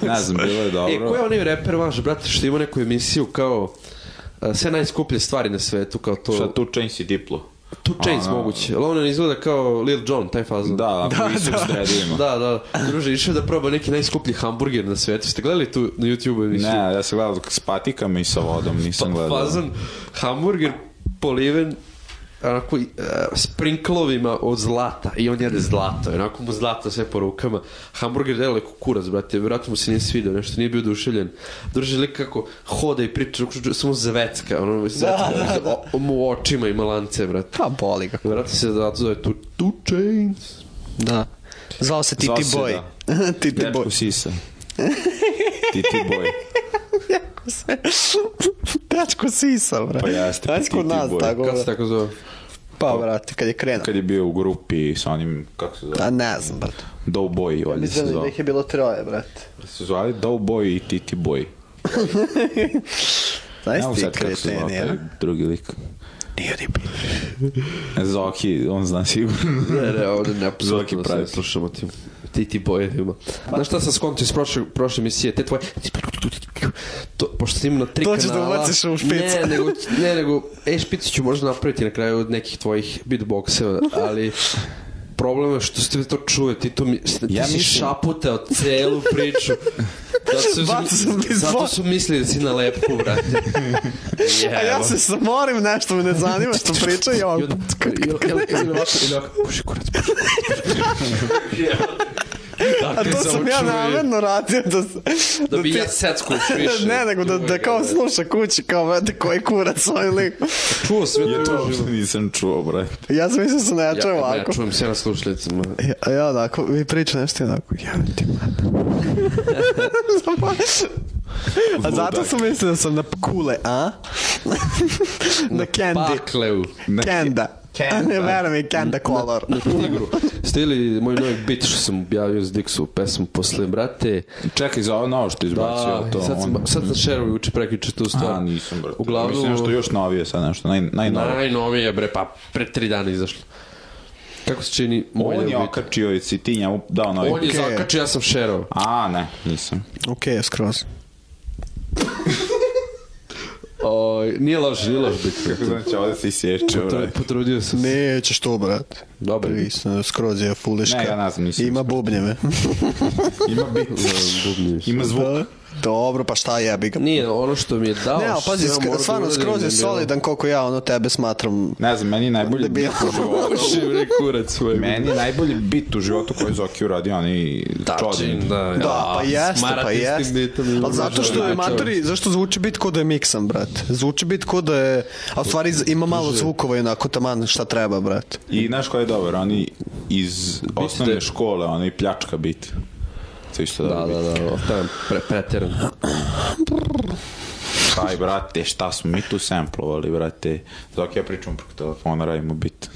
Ne znam, bilo je E, ko je dobro. onaj reper vaš, brate, što ima neku emisiju kao a, sve najskuplje stvari na svetu, kao to... Šta tu Chains i Diplo? Two Chains A. moguće, ali on izgleda kao Lil Jon, taj fazon. Da, da, visok s dreadima. Da, da. Druže, išao je da proba neki najskuplji hamburger na svetu. Ste gledali tu na YouTube emisiju? Ne, ja sam gledao s patikama i sa vodom, nisam Pa, gledao. fazan hamburger poliven onako e, sprinklovima od zlata i on jede zlato i onako mu zlato sve po rukama hamburger dele kao kurac brate vjerojatno mu se nije svidio nešto nije bio oduševljen druži lik kako hoda i priča kako samo zvecka ono zvecka da, mu u očima ima lance brate Pa boli ga. vjerojatno se zato zove tu, tu chains Da. Zvao se Titi Zvao se, Boy. Titi Dečko Boy. sisa. Ti ti boj. Dečko sisa, bra. Pa jeste, Ajde kod Titi nas, Boy. tako kako se bra. tako zove Pa, brate, kad je krenuo. Kad je bio u grupi sa onim, kako se A zove? ne znam, brate. Doughboy, valjda se Mislim da zvao. ih je bilo troje, brate. Se zvali Doughboy i Titi Boy. Ne mogu Znaš ti sad kako se zvao kreteni, taj ja? drugi lik. Nije ni bilo. Zoki, on zna sigurno. ne ne ovdje ne Zoki apsolutno se ne pravi. slušamo tim ti ti bojevima. Znaš šta sam skontio iz prošle, prošle emisije? Te tvoje... To, pošto snimim na tri To kanala... ćeš da ubaciš u špic. Ne, nego, ne, nego... E, špicu ću možda napraviti na kraju od nekih tvojih beatboxeva, ali... Problem je što ste vi to čuje, ti to mi, ti Ja si mislim- šaputao celu priču. Zato su, Bacio sam bez zato bola. su mislili da si na lepku, brate. A ja Jevo. se samorim, nešto me ne zanima što priča i on... I onda- i- i- Ili ovako, ili ovako, puši kurac, puši kurac. A to sam ja namerno radio da... Da bi ti- ja secku više. ovaj, ne, nego da, da kao sluša kući, kao, vete, koji kurac ovaj lik. Čuo sve Ja to to uopšte nisam čuo, braj. Ja sam mislio da se ne čuje Ja, ne, ovako. čujem se na slušalicama. Ja, a ja onako, vi priča nešto i onako, jebem ti mada. a zato sam mislio da sam na kule, a? na candy. Pakleu. Kenda. A ne, verujem i Kenda kolor. Na tigru. Stili moj novi bit što sam objavio s Dixu pesmu posle, brate. ono. Čekaj, za ovo novo što izbacio Da, to. sad sam, on- sad sam šerovi uče prekiče tu stvar. A, nisam, brate. Uglavnom- Mislim nešto još novije sad, nešto, naj, najnovije. Najnovije, bre, pa pre tri dana izašlo. Kako se čini moj On novi je bit? okačio i si ti njemu dao novi. On je Okej. zakačio, ja sam šerov. A, ne, nisam. Ok, skroz. Oj, nije loš, nije loš bit. Kako znači, ovde se ovaj. isječe, braj. Potru- Potrudio sam se. Nećeš to, brat. Dobar je bit. Prisno, skroz je fuliška. Ne, ja ne znam, nisam Ima bubnjeve. Ima bit. Bubnjevi su. Ima zvuk. Dobro, pa šta jebi ga. Nije, ono što mi je dao... Ne, ali što pazi, ja moram sk da stvarno, uradim skroz je je bilo- solidan koliko ja ono tebe smatram Ne znam, meni je najbolji bit debilom. u životu. Uši, bre, kurac svoj. Meni je najbolji bit u životu koji je Zoki uradio, oni čodin. da, ja. Da, pa jeste, Smarati pa s tim jeste. bitom i Ali zato možda što je da čovjek. maturi, zašto zvuči bit ko da je miksan, brat? Zvuči bit ko da je, a u stvari ima malo zvukova i onako taman šta treba, brat. I znaš koji je dobar, oni iz osnovne škole, oni pljačka bit. To je isto Da, dobar da, bit. da, ostavim pre, preteran. Taj, brate, šta smo mi tu semplovali, brate. Dok ja pričam preko telefona, radimo bit.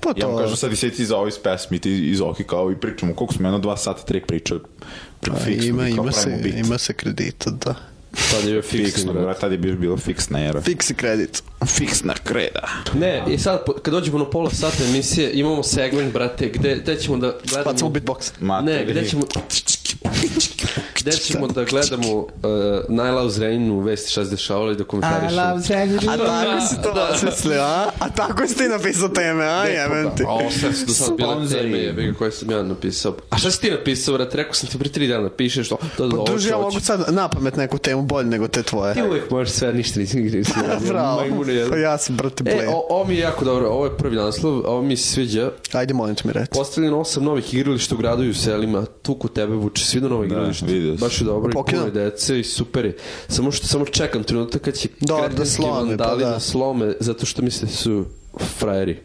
Pa Ja mu to, kažem sad i sjeti za ovaj pesmi, ti iz Oki kao i pričamo, koliko smo jedno dva sata, tri priče. a, Fiksno, ima, i kao ima, se, pravimo bit. ima se kredita, da. Sad je bio fiksni, Fiksno, brate. brate, tad je bilo- bilo fiksna era. Fiksi kredit. Fiksna kreda. Ne, i sad, po- kad dođemo na pola sata emisije, imamo segment, brate, gde, gde ćemo da gledamo... Pa smo beatbox. Ne, gde ćemo... Gde ćemo da gledamo uh, najlav zreninu vesti šta se dešavalo i da komentarišemo. A tako si to osmislio, a? A tako si ti napisao teme, a? pa Jebem ti. A ovo sad su do sad bile Sponzori. teme jebi ga, koje sam ja napisao. A šta si ti napisao, vrat? Rekao sam ti pre tri dana, pišeš to. To da ovo Druži, ja ću- mogu sad napamet neku temu bolje nego te tvoje. Ti uvijek možeš sve, ništa nisi nigdje nisi. Bravo. Majmune, jel? Pa ja sam, brate, E, play. o- ovo mi je jako dobro, ovo je prvi naslov, ovo mi se sviđa. Ajde, molim te mi reći. Postavljeno osam novih igrališta u gradu i u selima. Tu kod tebe vuče svi do novih Da, igrališta. vidio sam. Baš je dobro i Pokidam. puno je dece i super je. Samo što samo čekam trenutak kad će Da, da kretenski slome, pa vandali da. da slome, zato što misle da su frajeri.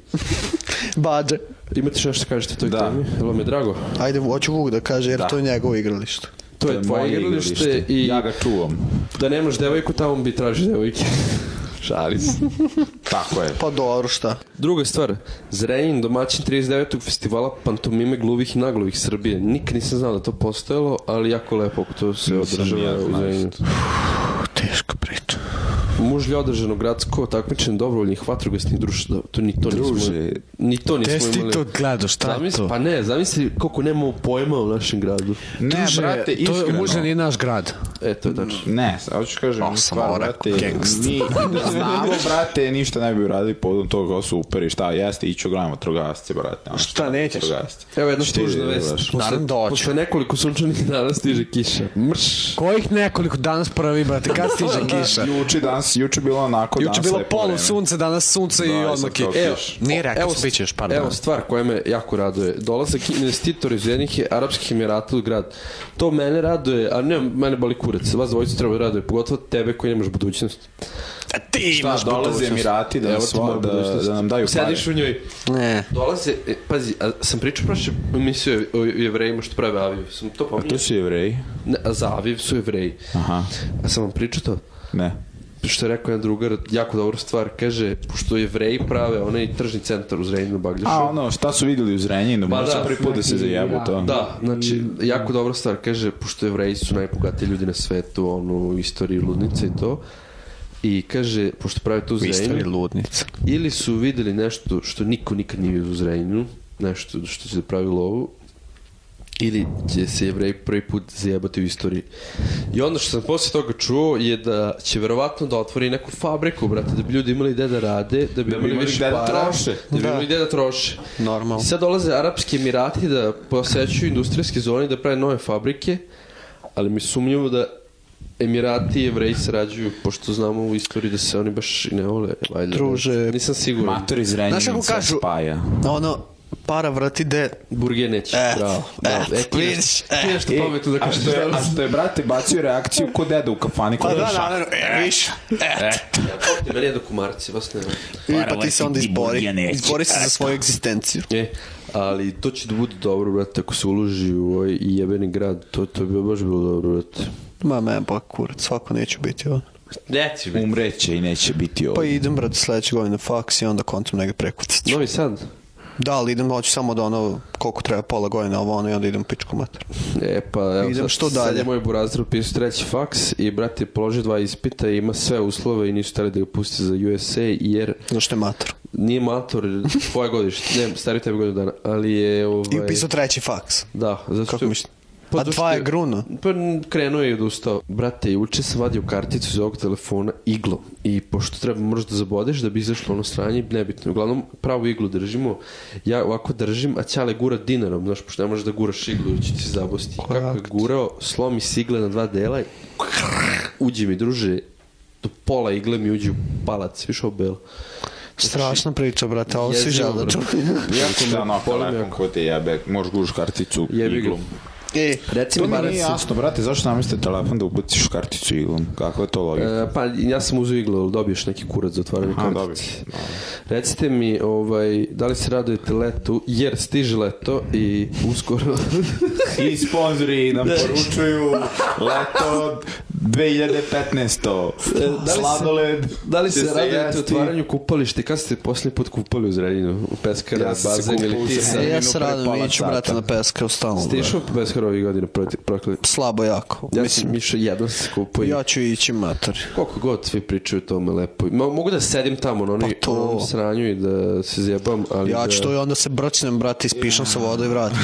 Bađe. Imate što nešto da kažete o toj Da. temi? Vrlo mi je drago. Ajde, hoću Vuk da kaže, jer to je njegovo igralište. To je tvoje moje igralište, i Ja ga čuvam. da nemaš devojku, tamo bi tražio devojke. Šalim se. Tako je. Pa dobro, šta? Druga stvar, Zrenjanin domaćin 39. festivala pantomime gluvih i naglovih Srbije. Nikad nisam znao da to postojalo, ali jako lepo ako to se Nisam ni ja održava u znao Zrenjaninu. Teška priča. Mužlje održano gradsko takmičenje dobrovoljnih vatrogasnih društva. To ni to nismo, Druže. ni to nismo Te si ti imali. to gledao, šta je Zamisli, to? pa ne, zamisli koliko nemamo pojma u našem gradu. Ne, Druže, brate, to je iskreno. mužan i naš grad. E, to je tačno. Ne, sad hoću kažem, Osam stvar, mora, brate, gangsta. mi da znamo, brate, ništa ne bi uradili povodom toga, kao super i šta, jeste, iću gledamo trogasce, brate. ono, Šta nećeš? Trogasce. Evo jedna Šta tužna je, vest. baš? Mislim da hoće. posle nekoliko sunčanih dana stiže kiša. Mrš. Kojih nekoliko danas prvi, brate, kad stiže kiša? Juče danas, juče bilo onako, danas Juče bilo lepo polu vreme. sunce, danas sunce i Da, odmah sad kao kiša. Evo, kiš. Nije E, rekao, evo, bit će još par Evo dana. stvar koja me jako raduje. Dolazak investitora iz jednih arapskih emirata u grad. To mene raduje, a ne, mene boli kurac. Vas dvojicu treba da raduje, pogotovo tebe koji nemaš budućnost. A ti Šta, imaš dolaze budućnost. Emirati da, Evo nas ti moja vole, da, budućnost. da nam daju pare. Sediš u njoj. Ne. Dolaze, e, pazi, a sam pričao prošle emisiju o jevrejima što prave Aviv. Sam to A pominjao. to su jevreji? Ne, a za Aviv su jevreji. Aha, A sam vam pričao to? ne. Što je rekao jedan drugar, jako dobra stvar, kaže, pošto jevreji prave onaj tržni centar u Zrenjinu Bagljušu. A ono, šta su videli u Zrenjinu, Pa možda da. ono, prvi put da se zajebu to. Da, znači, jako dobra stvar, kaže, pošto jevreji su najbogatiji ljudi na svetu, ono, u istoriji ludnice i to, i kaže, pošto prave tu Istorija Zrenjinu, ludnica. ili su videli nešto što niko nikad nije vidio u Zrenjinu, nešto što se pravi lovu, ili će se jevreji prvi put zajebati u istoriji. I ono što sam posle toga čuo je da će verovatno da otvori neku fabriku, brate, da bi ljudi imali gde da rade, da bi Da bi imali imali više gde da para, troše. da bi Da. imali gde da troše. Normalno. I sad dolaze Arapski Emirati da posećuju industrijske zone i da prave nove fabrike, ali mi je sumnjivo da Emirati i Jevreji sarađuju, pošto znamo u istoriji da se oni baš i ne vole. Valjda, Druže. Nisam siguran. Mator iz Renjanin Znaš kako sad kažu? spaja. Ono, para vrati de. Burgeneć, E, bravo. bravo. e, E, ti vidiš, nešto- e. ti nešto pametno da a, kažeš. što je, a što je, brate, bacio reakciju ko deda u kafani, ko Pa deda da, šak. namerno, e, više. E, Ti meni je do kumarci, vas nema. I Para pa ti leti se onda ti burgija izbori. neće. Izbori se za svoju egzistenciju. E, ali to će da bude dobro, brate, ako se uloži u ovaj jebeni grad, to, to bi baš bilo dobro, brate. Ma, me, bo kurac, svako neću biti ono. Neće Umreće i neće biti Pa ovdje. idem, brate, sledeće godine na faks i onda kontam negdje prekucat. Novi Sad? Da, ali idem, hoću samo da ono, koliko treba, pola godine, ovo ono, i onda idem pičku mater. E, pa evo, Idem sad- što Sad je dalje. moj burazir upisao treći faks i, brate, položio dva ispita i ima sve uslove i nisu tali da ga pusti za USA, jer Zašto je mater? nije mator, tvoje godište, ne, stari tebi godinu dana, ali je... Ovaj, I upisao treći faks. Da, zato što... Kako misliš? Pa A zato dva što- je gruno. Pa n- krenuo je i odustao. Brate, juče sam vadio karticu iz ovog telefona iglom. I pošto treba moraš da zabodeš da bi izašlo ono sranje, nebitno. Uglavnom, pravu iglu držimo. Ja ovako držim, a Ćale gura dinarom, znaš, pošto ne možeš da guraš iglu, jer će ti se zabosti. Kako je gurao, slomi sigle na dva dela i uđe mi, druže, do pola igle mi uđe u palac, više ovo belo. Strašna priča, brate, ovo svi Znači, Jezivo, žele da brate. čuju. Jako Šta me na boli me telefon jako. ko te jebe, možeš gužiš karticu Jebi ga. iglom. E, Reci To mi mi barem nije sa- jasno, brate, zašto namiste telefon da ubaciš karticu iglom? Kako je to logika? E, pa ja sam uzeo iglu, ali dobiješ neki kurac za otvaranje Aha, kartice. Recite mi, ovaj, da li se radujete letu, jer stiže leto i uskoro... I sponzori nam poručuju leto 2015. se- Sladoled. da li će se radujete jesti. otvaranju kupališta i kada ste posljednji put kupali u Zrenjinu? U Peskara, Ja sam se bazen ili kupao u ti Zrenjaninu. sam? e, ja Zemljinu se pre radim, pola iću, sata. brate, na peske, stalno. Ti brate. išao u Peskara ovih godina proti- prokli- Slabo jako. Ja sam Mislim, išao jedno sam se kupao i ja ću ići mater. koliko god svi pričaju o tome lepo. Ma, mogu da sedim tamo na onih Pa to. onom sranju i da se zjebam, ali, Ja da, ću to i onda se brčnem, brate, ispišam sa voda i vratim.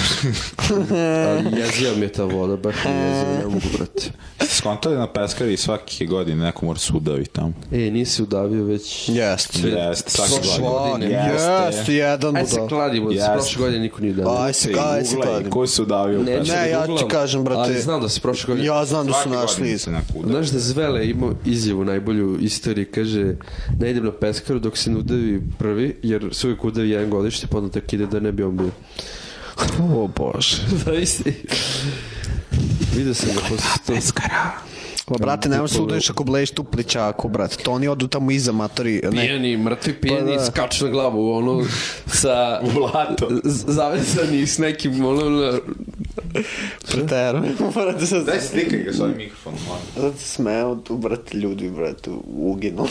ali jeziva mi je ta voda, baš mi je jeziva, ne mogu brati. Skonto je na peskari i svake godine neko mora se udavi tamo. E, nisi udavio već... Jeste. Jeste, svake Prošle godine. godine. Jeste. Jeste, jedan Aj E, se budala. kladimo, yes. Jeste. prošle godine niko nije udavio. Aj se, aj se, Uglej, kladim. ko se udavio u Neću peskari? da Ne, ja ti googlam, kažem, brate. Ali znam da se prošle godine... Ja znam da su Svake godine našli iz... se neko udavi. Znaš da Zvele imao izjavu najbolju u istoriji, kaže ne idem na peskaru dok se ne udavi prvi, jer se uvijek udavi jedan godište, pa onda tek ide da ne bi on bio. O bože. Zavisi. Vidio sam ga posle to. Pa brate, nemoj se udaješ ako blejiš tu pličaku, brate. To oni odu tamo iza matori. Ne. Pijeni, mrtvi pijeni, Pa pa, da. skaču na glavu, ono, sa... U blato. z- Zavesani s nekim, ono, na- Preteru. Morate se Daj slikaj ga s ovim mikrofonom. molim. Zato se smeo, tu, brate, ljudi, brate, uginu.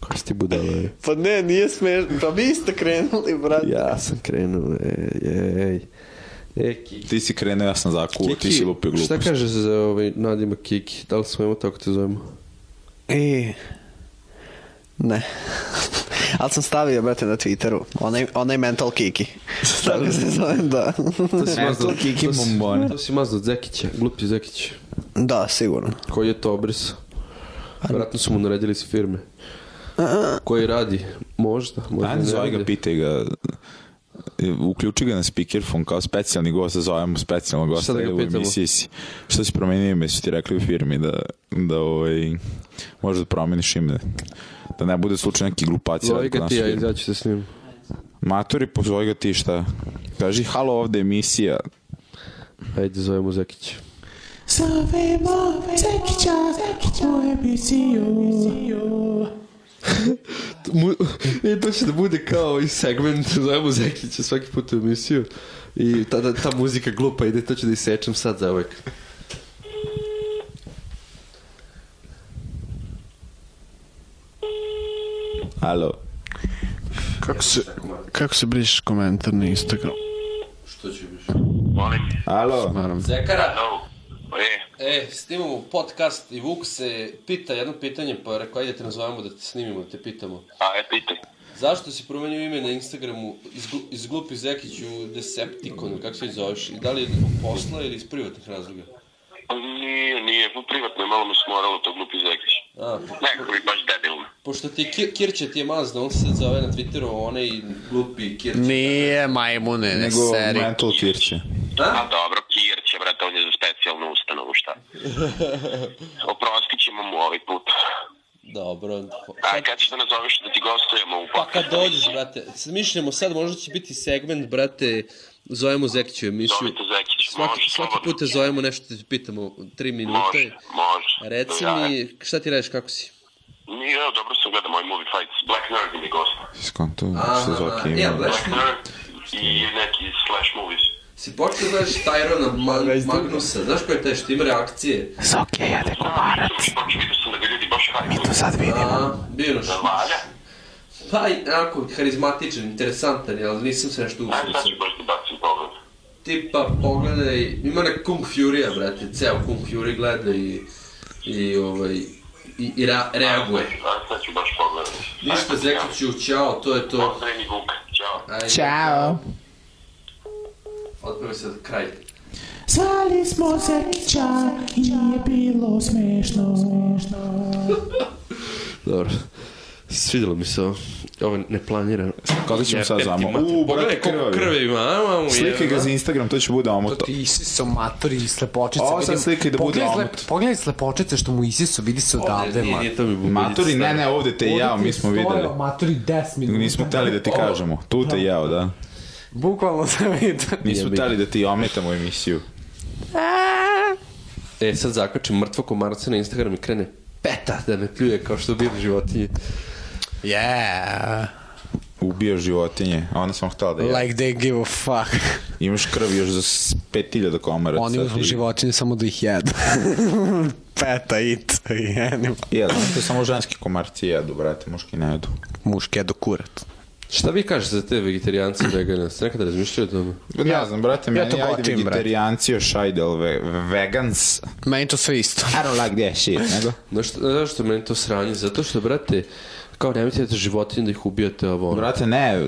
Ko si ti budala? je? pa ne, nije smešno. Pa vi ste krenuli, brate. Ja sam krenuo, ej, ej. E, Kiki. Ti si krenuo, ja sam zakuo, ti si lupio glupost. Šta kaže za ovaj nadima Kiki? Da li smemo tako te zovemo? E, ne. Ali sam stavio, brate, na Twitteru. Onaj, onaj mental kiki. Tako se zovem, da. To si Eto, mazno E, Kiki bombone. To si mazno od Zekića, glupi Zekić. da, sigurno. Koji je to obrisao? Vratno su mu naredili s firme. Koji radi? Možda, možda Ajde, ne zove ga, radi. pitaj ga. E, Uključi ga na speakerphone kao specijalni gost, da zovemo specijalnog gosta Šta da ga da u pitamo? emisiji si. Šta si promenio ime, su ti rekli u firmi da, da ovaj, možeš da promeniš ime. Da ne bude slučaj neki glupaci. Zove radi kod ga nas ti, u ja firmi. izaću se s njim. Maturi, pozove ga ti šta? Kaži, halo, ovde je emisija. Ajde, zovemo Zekića. Zovemo Zekića u emisiju. I to će da bude kao i segment, zovemo Zekića svaki put u emisiju. I ta, ta, ta muzika glupa ide, to ću da isečem sad za uvek. Halo. Kako se, kako se brišeš komentar na Instagram? Što će biti? Halo. Zekara! E, E, snimamo podcast i Vuk se pita jedno pitanje, pa rekao, ajde te nazovemo da te snimimo, da te pitamo. a, e, pitaj. Zašto si promenio ime na Instagramu iz, glu- iz glupi Zekić u Decepticon, ili kako se već zoveš? I da li je zbog posla ili iz privatnih razloga? Pa Nije, nije, privatno je malo me smoralo to glupi zekić. A, po- Nekako mi baš debilno. pošto ti Kir, Kirće ti je mazda, on se sad zove na Twitteru onaj glupi Kirće. Nije majmune, ne Nego seri. mental kirće. A dobro, Kirće, će, brate, on je za specijalnu ustanovu, šta? Oprostit ćemo mu ovaj put. Dobro, A kad ćeš da nazoveš da ti gostujemo u Pa kad podcastu? dođeš, brate, smišljamo sad, možda će biti segment, brate, zovemo Zekiću emisiju. Zovite Zekić, Svaki, može, svaki slobodno. put te zovemo nešto, te pitamo, tri Može, minute. može. Reci Ja, mi, šta ti radiš, kako si? Nije, evo, dobro sam gledao moj movie fights. Black Nerd im je gost. Skonto što zove Kim. ja, Black- Black Nerd i neki slash movies. Si počeo znaš Tyrona Magnusa, znaš koji je taj što ima reakcije? Sok je jede Da, nisam baš vidio sam da ga ljudi baš hajpuju. sad vidimo. A, bio naš. Valja. Pa, onako, harizmatičan, interesantan, ali nisam se nešto Ajde, sad usio. ću baš da bacim pogled. Tipa, pogledaj, ima nek Kung Fury-a, brate, ceo Kung Fury gleda i, i, ovaj, i, i ra, reaguje. Ajde, sad ću baš pogledati. Ništa, Zekiću, ćao, to je to. Pozdrav i Vuk, ćao. Ajde, Ćao. Otpravo se kraj. Zvali smo Zekića i nije bilo smešno. Dobro. Svidjelo mi se ovo. Ovo neplanirano. Kako ćemo sad zamo? U, brate, Pogledaj koliko krvavi. krvi ima, a mamo Slike ga za Instagram, to će bude omot. Ti isiso matori i slepočice. Ovo sad vidim. slika i da bude Pogledaj omot. slep- Pogledaj slepočice što mu isiso, vidi se odavde, Nije, man. nije to mi bubuljica. Maturi, ne, ne, ovde ono. te jao, mi smo videli. Matori 10 minuta. Nismo teli da ti kažemo. Tu te jao, da. Bukvalno sam vidio. Nismo teli da ti ometamo emisiju. E, sad zakačem mrtvo komarca na Instagram i krene peta da me pljuje kao što bilo životinje. Yeah. Ubio životinje, a ona sam htela da je. Like they give a fuck. Imaš krv još za s- 5000 komaraca. Oni uzmu i- životinje samo da ih jedu. Peta, it, i animal. Jedu, to samo ženski komarci jedu, brate, muški ne jedu. Muške jedu kurat. Šta vi kažete za te vegetarijance i vegane? Ste nekada razmišljali o tome? Ne znam, brate, ja meni to ja ajde blatim, vegetarijanci još ajde, ali ve, vegans. Meni to sve isto. I don't like that shit, nego. Znaš, šta- znaš što meni to sranje? Zato što, brate, kao nemojte da životinje da ih ubijate ovo. ono. Brate, ne, e,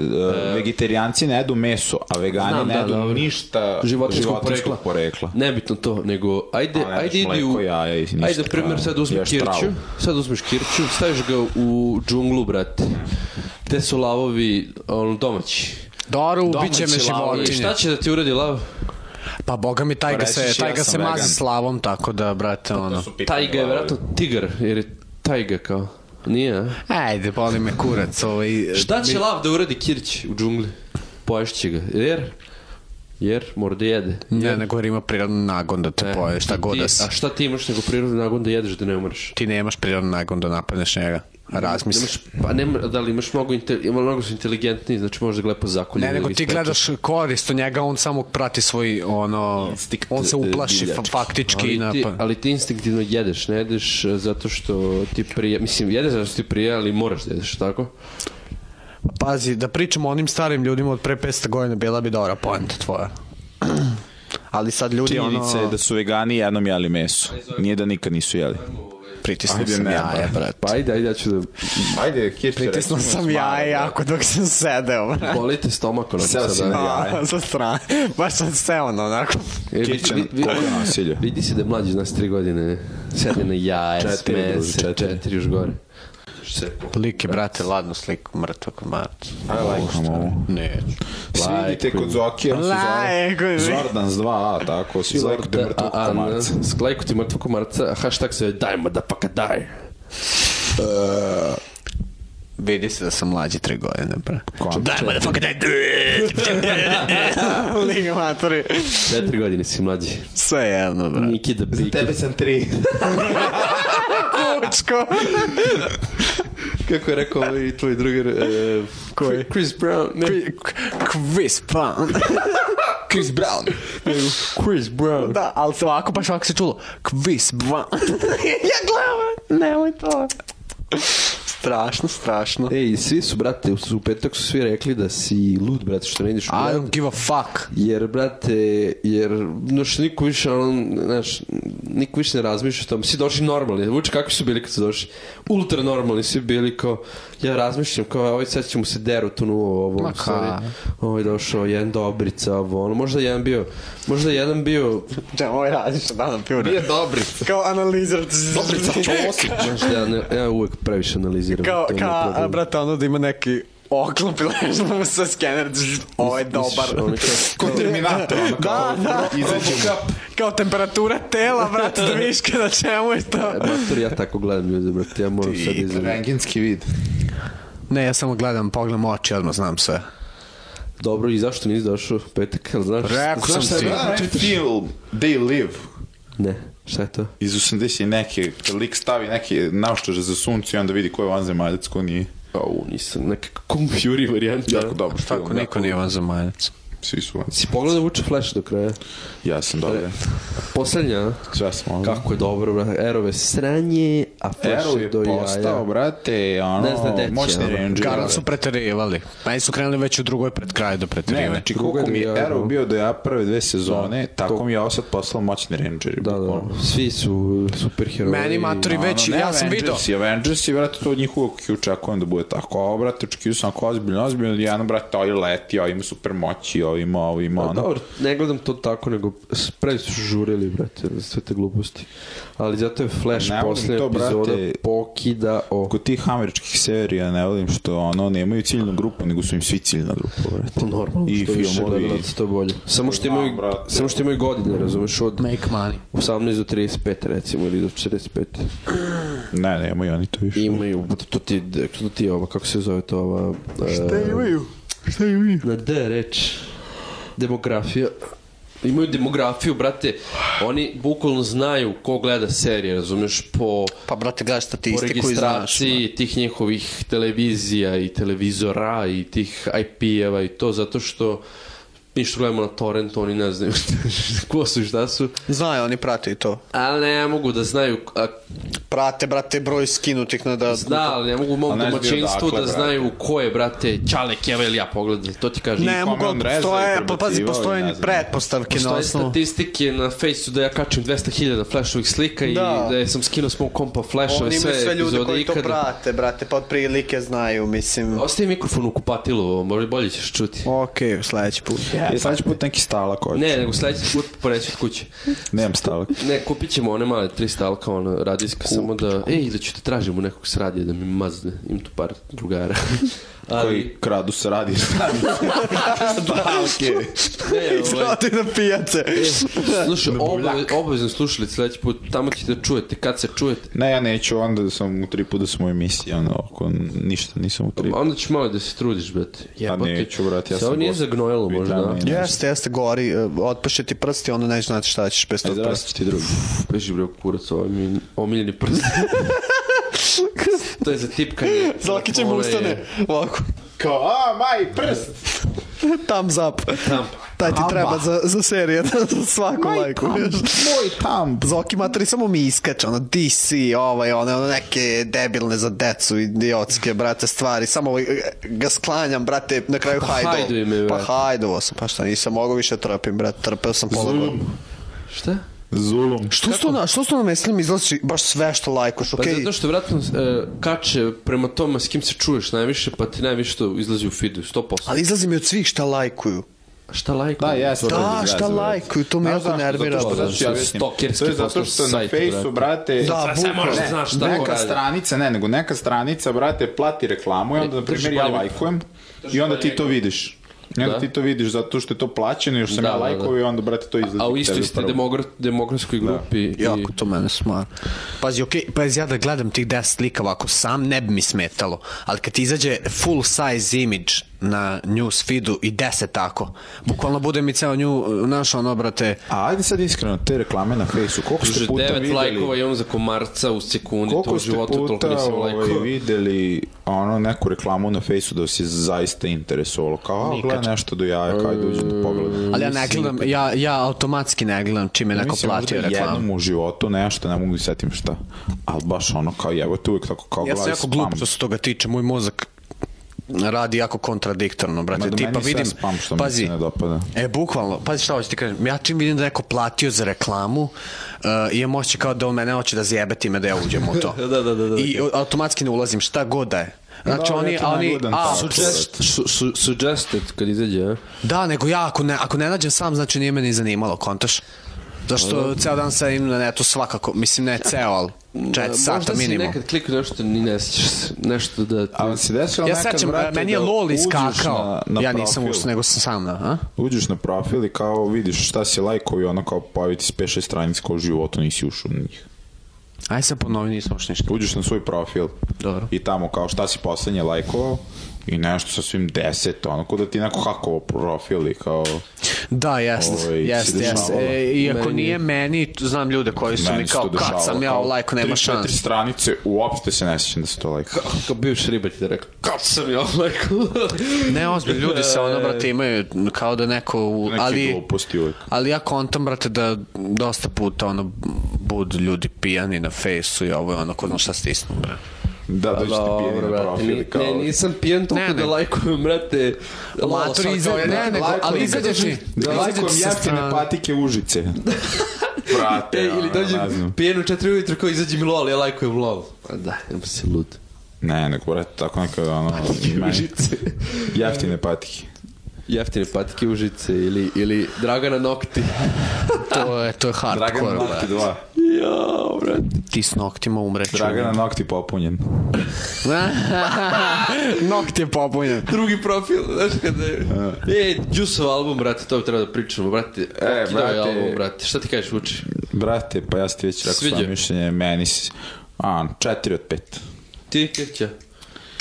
vegetarijanci ne jedu meso, a vegani Znam, ne da, jedu dobro. ništa životinjskog, porekla. porekla. Nebitno to, nego ajde, Ali ne ajde daš idi u... mleko, jaja i ništa, ajde, na primjer, kao, sad uzmi ješ kirću, travu. sad uzmeš kirću, staviš ga u džunglu, brate. Te su lavovi on, domaći. Dobro, ubiće me Domaći lavovi. I životinje. šta će da ti uradi lav? Pa boga mi, taj ga Reći se, ćeš, taj ja ga sam se vegan. mazi slavom, tako da, brate, ono. Taj ga je vjerojatno tigar, jer je taj ga kao. Nije, a? Ajde, boli me kurac, ovaj... Šta će lav da uradi kirć u džungli? Poješće ga, jer... Jer mora da jede. Ne, nego jer ima prirodnu nagon da te poje, E, Pa šta Ti- god da ti- si. A šta ti imaš nego prirodni nagon da jedeš da ne umreš? Ti nemaš prirodnu nagon da napadneš njega. Razmisli. Nemaš, pa nema, da li imaš mnogo, inte, ima mnogo su inteligentniji, znači možda ga lepo zakolje. Ne, nego ti gledaš korist od njega, on samo prati svoj, ono, Instinkt, on se uplaši divljački. fa- faktički pa- i ali ti, napad. ali ti instinktivno jedeš, ne jedeš e, zato što ti prije, mislim, jedeš zato što ti prije, ali moraš da jedeš, tako? Pazi, da pričamo o onim starim ljudima od pre 500 godina, bila bi dobra poenta tvoja. ali sad ljudi, Činjenica je ono, da su vegani jednom jeli meso. Nije da nikad nisu jeli. pritisnu Ajde, sam ne, jaja, brate. brate. Pa ajde, ajde, ja ću da Ajde, kirče, Pritisnuo sam jaja jako dok sam sedeo, brate. bolite stomak onako Seo si sada. na- A, Sa strane. Baš sam seo, ono, onako. E, vidi- Kitchen, vidi- vidi- koliko nasilja. Vidi se da je mlađi, znaš, tri godine. Sedne na jaje, Četiri, smeje druže, se, četiri. četiri još gore. Lik je, brate, ladno sliku mrtvog marca. Neću. Svi idite kod Zokija, on se zove Lajko, ne. Zordans 2A, tako, svi lajkujte mrtvog A, a, komarca. na- Sklajku ti mrtvog komarca, hashtag se dajmo da paka daj. Vidi se da sam mlađi tri godine, bre. Kontra. Daj, motherfucker, daj. Lik matori. Četiri godine si mlađi. Sve jedno, bre. Niki da piki. sam tri. Kučko. Kako je rekao ovaj tvoj drugar e, Koji? Chris Brown ne, Chris Brown. Chris Brown. Chris Brown Da, ali se ovako, baš ovako se čulo. Chris Brown. ja gledam, nemoj to. strašno, strašno. Ej, svi su, brate, u- u petak su svi rekli da si lud, brate, što ne ideš u I grad. don't give a fuck. Jer, brate, jer, znaš, niko više, on, znaš, niko više ne razmišlja o tome. Svi došli normalni, vuče kakvi su bili kad su došli. Ultra normalni svi bili, kao, ja razmišljam, kao, ovaj sad ćemo se deru tu nu ovo, Ma Ma, ka. ovo je došao, jedan dobrica, ovo, ono, možda jedan bio, možda jedan bio, Da, ovo je različno, da, na pivu. Nije dobrica. Kao analizar. Dobrica, čovosik. znaš, ja, ne- ja uvek previše analiziram. Kao, to mi je kao, a, problem. brate, ono da ima neki oklop i leži mu sa skener, zzz, ovo je Misliš, dobar. ono, kao- Ko Terminator, ono Da, da. Kao temperatura tela, brate, da vidiš kada čemu je to. E, Mater, ja tako gledam ljude, brate, ja moram sad izgledati. Rengenski vid. Ne, ja samo gledam, pogledam oči, odmah znam sve. Dobro, i zašto nisi došao u petak, jel znaš? Rekao znaš sam šta je ti. bilo? Da, film They Live Ne, šta je to? iz 80 i neke, kad lik stavi neke naoštaže za sunce i onda vidi ko je vanzemaljac, ko nije. Au, nisam, neka Kung Fury varijanta. Jako dobro film. Tako, niko jako- nije van zemaljac. Svi su vanzemaljac. Si pogledao Vuče Flash do kraja? Ja sam dobro. Poslednja, a? Sve sam ovdje. kako je dobro, brate. Erove sranje, a Flash Arrow je je do jaja. postao, brate, ono, Ne zna gde će, moćni ono. ranger. Garant su preterivali. Meni su krenuli već u drugoj pred kraj do Ne, preterivanja. znači Druga koliko mi je liga, Arrow ono. bio do ja prve dve sezone, tako to- mi je ovo sad poslao moćni ranger. Da, da, svi su superheroji. Meni matori već, ja sam vidio. I Ono, Avengers i brate, to od njih uvijek očekujem da bude tako. Ovo, brate, očekio sam ako ozbiljno, ozbiljno, jedan, brate, ovi leti, ovi ima super moći, ovi ima, ovi ima, Pa ono. Dobro, ne gledam to tako, nego s- previ su žurili, brate, za sve te gluposti. Ali zato je Flash Ne volim posljednja to, brate. epizoda pokida o... Kod tih američkih serija ne volim što ono nemaju ciljnu grupu, nego su im svi ciljna grupa, brate. Pa normalno, I što više filmovi. gledalaca, to bolje. Samo što Znam, imaju, brate. samo što imaju godine, razumeš, od Make E, money. 18 do 35 recimo, ili do 45. Ne, nemaju oni to više. Imaju, to ti, to ti je ova, kako se zove to ova... Šta imaju? Šta imaju? Na D reč. Demografija. Imaju demografiju, brate. Oni bukvalno znaju ko gleda serije, razumeš, po, Pa, brate, gledaš po statistiku i znaš. registraciji tih njihovih televizija i televizora i tih IP-eva i to, zato što mi što gledamo na torrent, oni ne znaju ko su i šta su, Znaju, oni prate i to. ali ne mogu da znaju, a, Prate, brate, broj skinutih na da... Da, ali ne mogu u A mom ne znaju domaćinstvu dakle, da odakle, brate. znaju ko je, brate, Čale, Keva ili ja pogledam, to ti kažem. Ne kome mogu, on ali rezao i postoje, pa prebacivao pazi, i ne postoje znam. pretpostavke na Postoje osnovu. statistike na Facebooku da ja kačem 200.000 flashovih slika Da. i da sam skinuo s mog kompa flashove Oni imaju sve, sve ljude epizode koji to ikada. prate, brate, pa otprilike znaju, mislim. Ostavi mikrofon u kupatilu, ovo, možda bolje ćeš čuti. Okej, sledeći put. Ja, E, sad ću put neki stalak hoću. Ne, nego sledeći put poreći od kuće. Nemam stalak. Ne, kupit ćemo one male tri stalka, ono, radijska, samo da... Ej, da ću te tražim u nekog s radija da mi mazne. Imam tu par drugara. Ali, Koji kradu se radi. Stalke. ne, ovaj, Izlati na pijace. E, Slušaj, oba- obavezno slušali sledeći put, tamo ćete čujete, kad se čujete. Ne, ja neću, onda sam u tri puta sam u emisiji, ono, ako ništa nisam u tri Onda ćeš malo da se trudiš, brate. Jebote. neću, brate, ja Se sam ovo nije gost. zagnojilo možda. Vitamina. Jeste, jeste, gori, e, otpaše ti prsti, onda ne znate šta ćeš E, bez tog Ajde, prsta. rastu ti drugi. Beži bre, kurac, ovo je mi omiljeni prst. to je za tipkanje. Zlaki će mu Ona je- ustane, ovako, Kao, a, maj, prst! thumbs up. Taj ti treba za, za serije, za svaku lajku. Moj tam! Zoki materi samo mi iskače, ono DC, ovaj, one, ono neke debilne za decu, idiotske, brate, stvari. Samo ovaj, e, ga sklanjam, brate, na kraju Pa hajdovo. hajduj me, Pa brate. hajdovo sam, pa šta, nisam mogao više trpim, brate, trpeo sam pola godine. Šta? Zulum. Što su to na, što su to na mislim, izlazi baš sve što lajkuš, Pa okej? zato što vratno e, kače prema tome s kim se čuješ najviše, pa ti najviše to izlazi u feedu, 100%. Ali izlazi mi od svih šta lajkuju. Šta lajko? Da, ja sam Pa, Da, dobro izrazio, šta brate. lajkuju, to me Znaš jako zašto? nervira, Zato što, brate. znači, zato što ja objasnim. Stalkerski To je zato što postao na sajt, fejsu, brate, Da, Sve bukvalno. moraš da znaš šta ko neka radi. stranica, ne, nego neka stranica, brate, plati reklamu i onda, na primjer, drži ja bolje. lajkujem i onda ti to vidiš. I onda Da. ti to vidiš zato što je to plaćeno, još sam Da, ja da, da. lajkovao i onda, brate, to izlazi. A u kod istoj tebe ste prvo. demogra- demografskoj grupi. i- Jako to mene smara. Pazi, okej, pazi, ja da gledam tih 10 slika ovako sam, ne bi mi smetalo. Ali kad ti izađe full size image, na news feedu i deset tako. Bukvalno bude mi ceo nju, naš ono, brate, A ajde sad iskreno, te reklame na Facebooku, koliko ste Slušaj, puta videli... 9 lajkova imam za komarca u sekundi, to u Koliko ste životu toliko puta nisam ovaj, lajkova. videli ono, neku reklamu na fejsu da vas je zaista interesovalo? Kao, a, gledaj nešto do jaja, kao da uđem da pogledam. E, ali ja ne gledam, ja, ja automatski ne gledam čime neko Mislim, možda platio reklamu. jednom u životu nešto, ne mogu da se setim šta. Ali baš ono, kao jevo, te uvijek tako kao Ja sam gledaj jako ovaj spam. glup što se toga tiče, moj mozak radi jako kontradiktorno, Ma brate. do Tipa meni sve vidim, spam što mi pazi, se ne dopada. E, bukvalno, pazi šta hoću ti kažem, ja čim vidim da je neko platio za reklamu, uh, imam osjećaj kao da on mene hoće da zjebe time da ja uđem u to. Da, da, da, da, da. I o- automatski ne ulazim, šta god da je. Znači Da, oni, ja to ne oni, gledam a, tako. Suggest, su, su, suggested kad izađe, a? da, nego ja ako ne, ako ne nađem sam, znači nije me ni zanimalo, kontaš. Zašto ceo dan sedim na netu svakako, mislim ne ceo, ali čet sata Možda si minimum. nekad klikao nešto, ni ne sjećaš se, nešto da... Ti... A vam se desilo Ja nekad, sećam, brate, meni je da LOL uđeš iskakao, na- na ja nisam profil? ušao, nego sam sam, na, a? Uđeš na profil i kao vidiš šta si lajkovi, ono kao pojavi ti s 5-6 stranica kao u životu nisi ušao u njih. Aj sad ponovi, nisam ušao ništa. Uđeš na svoj profil Dobro. i tamo kao šta si poslednje lajkovao i nešto sa svim deset, ono kao da ti neko hakovo profil i kao... Da, jest, Ovaj, jest, se jest. dešavalo. E, iako nije meni, znam ljude koji su mi meni se to kao, kad dešavalo, sam ja kao u lajku, nema tri, četiri šans. stranice, uopšte se ne sjećam da se to lajkao. Kao bivš ribar ti da rekao, kad sam ja lajkao? Ne, ozbiljno, ljudi se ono, brate, imaju kao da neko, u- Neki ali, E, gluposti uvek. ali ja kontam, brate, da dosta puta, ono, budu ljudi pijani na fejsu i ovo je ono, ko zna šta stisnu, bre. Da, dođete pijeni na ono, profil i kao... ne, nisam pijen toliko Ne, ne. da lajkujem, brate. Matori, Lala, iza- sad kao, ne, nego, lajkujem. ali izađeš ti. Da izađeš lajkujem ti sa jeftine strane. patike užice. Brate, Ej, ono, ili ne znam. dođem pijen u četiri ujutro kao izađe mi lol, ja lajkujem lol. A da, nema se lud. Ne, nego, brate, tako neka, ono, meni, Užice. jeftine patike. Jeftine patike užice ili, ili Dragana Nokti. To je, to je hardcore, Dragan bre. Nokti 2. Jao, brate. Ti s noktima umreću. Dragana Nokti popunjen. Nokt je popunjen. Drugi profil, znaš kada je. E, Džusov album, brate, to bi trebalo da pričamo, brate. E, brate. brate. album, brate. Šta ti kažeš, Vuči? Brate, pa ja sam ti već rekao Sviđa. svoje mišljenje, meni se... A, četiri od pet. Ti, Krća?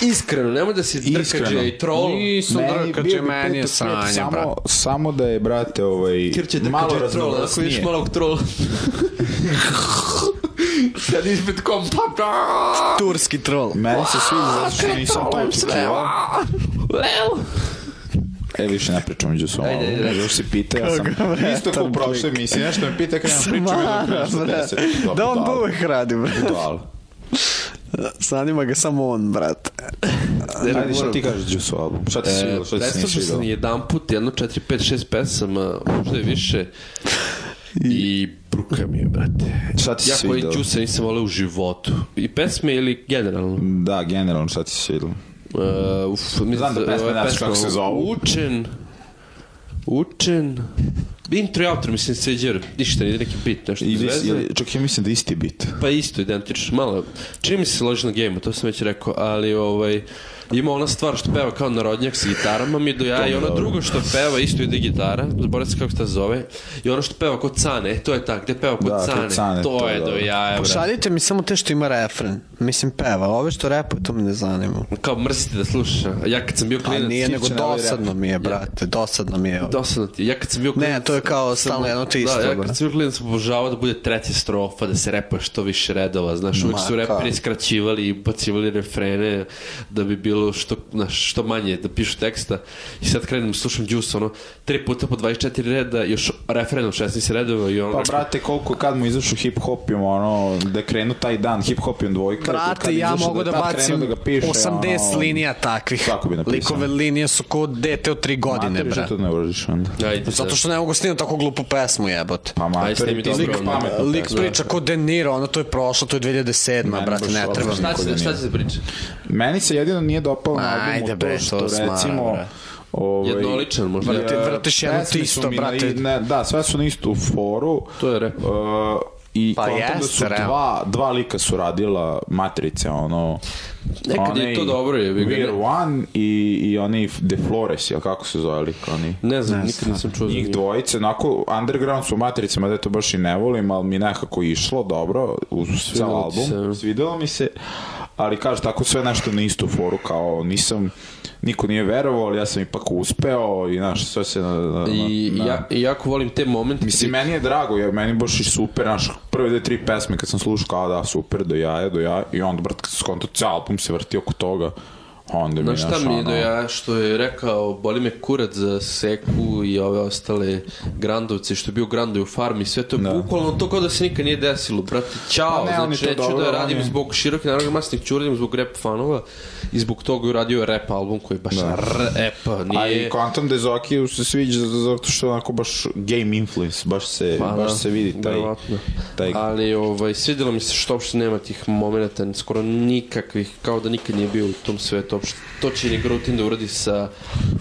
Iskreno, nemoj da si drkađe i troll. Nisam bio drkađe, bi pet meni je od pet, sanje, samo, bre. Samo da je, brate, ovaj... Krće drkađe malo i troll, ako vidiš raznovrsnije. malog trolla. Sad ispred kompa. Turski troll. Meni se sviđa zato što nisam to očekivao. E, više ne pričam među svom Ajde, ajde, albumu. reci. Još se pita, ja sam... Isto kao u prošloj emisiji, nešto me pita kada nam pričam. Smara, i dok ne bre. se Da on to budala. uvek radi, bre. Budala. Zanima ga samo on, brate. Ajde, šta ti kažeš Đuso album? Šta E, ti se vidjelo, šta ti se nisi Predstavio sam vidjelo? jedan put, jedno, četiri, pet, šest pesama, možda je više. I bruka mi je, brate. Šta ti Ja se koji vidjelo? Đusa nisam voleo u životu. I pesme ili generalno? Da, generalno, šta ti se vidjelo? Uh, uf, mi Znam da pesme ova ne znaš pesma kako se zovu. Učen, učen, intro i outro mislim se sviđa, jer ništa, nije neki bit, nešto I bez is, veze. ili, čak ja mislim da isti bit. Pa isto, identično, malo, čini mi se loži na game to sam već rekao, ali ovaj, ima ona stvar što peva kao narodnjak sa gitarama mi do jaja i ono drugo što peva isto ide gitara, zaboravim se kako se ta zove, i ono što peva kod Cane, to je tak, gde peva kod Da, kod Cane, Cane, to, to je je do dobro. jaja, brate. Šaljite mi samo te što ima refren. Mislim, peva. Ove što repuje, to me ne zanima. Kao mrzite da sluša, ja kad sam bio A klinac, nije, nego Steve će najbolje dosadno mi je, brate. Dosadno mi je. ovo. dosadno ti. Ja kad sam bio Ne, to je kao stalno jedno te isto, Da, ja bre. kad sam bio klinac sam obožavao da bude treća strofa, da se repuje što više redova, znaš, uvijek su reperi skraćivali i bacivali refrene da bi bilo što, znaš, što manje, da pišu teksta. I sad krenem, slušam Juice, ono, tri puta po 24 reda, još refrenom 16 redova i ono... Pa brate, koliko kad mu izašu hip hop im ono, da krenu taj dan, hip hop im dvojka. kad Brate, ja izašao mogu da, je tad bacim krenuo da ga piše, 80 ono, linija takvih. Kako bi napisao? Likove linije su kod dete od 3 godine, Mater, bre. što to ne uradiš onda? Ajde, Zato što ne mogu snimati tako glupu pesmu, jebote. Pa Ajde, mater, snimi ti dobro lik onda. pametno. Lik priča kod De Niro, ono to je prošlo, to je 2007, Mene brate, baš ne ovo treba. ne Šta će, Niko da šta nije. će se pričati? Meni se jedino nije dopalo na albumu Ajde, bre, to što to smara, recimo... bre. Ovaj, Jednoličan možda. Brate, vrtiš jedno pesme te su isto, mi na- brate. Ne, da, sve su na istu foru. To je rap. Uh, I Pa pa kontam da jeste, su realno. dva, dva lika su radila matrice, ono... Nekad je onaj to dobro, je, vi ga ne- We're One i, i oni De Flores, jel kako se zove lik, oni... Ne znam, nikad nisam čuo. za Njih njih. dvojice, onako, underground su matricama, da to baš i ne volim, ali mi nekako išlo dobro uz cel ti album. se. Svidelo mi se, ali kaže, tako sve nešto na istu foru, kao nisam niko nije verovao, ali ja sam ipak uspeo i znaš, sve se... Na, na, I na, ja, i jako volim te momente. Mislim, meni je drago, ja, meni je baš i super, znaš, prve dve, tri pesme kad sam slušao, kao da, super, do jaja, do jaja, i onda, brat, kad sam skonto, ceo album se vrti oko toga, onda mi, Znaš znaš, šta mi je ono, do ja što je rekao, boli me kurac za Seku i ove ostale Grandovce, što je bio Grandovi u farmi, sve to je Da. bukvalno to kao da se nikad nije desilo, brate, čao, Pa ne, oni znači neću to dobro, da oni- radim zbog široke narodne masnih ću uradim zbog rap fanova i zbog toga je uradio rap album koji je baš da. rap, A i nije... Quantum de Zokiju se sviđa zato što je onako baš game influence, baš se, Pa da, baš se vidi taj, verovatno. taj Ali ovaj, svidjelo mi se što uopšte nema tih momenta, skoro nikakvih, kao da nikad nije bio u tom svetu uopšte. To će ni Grutin da uradi sa...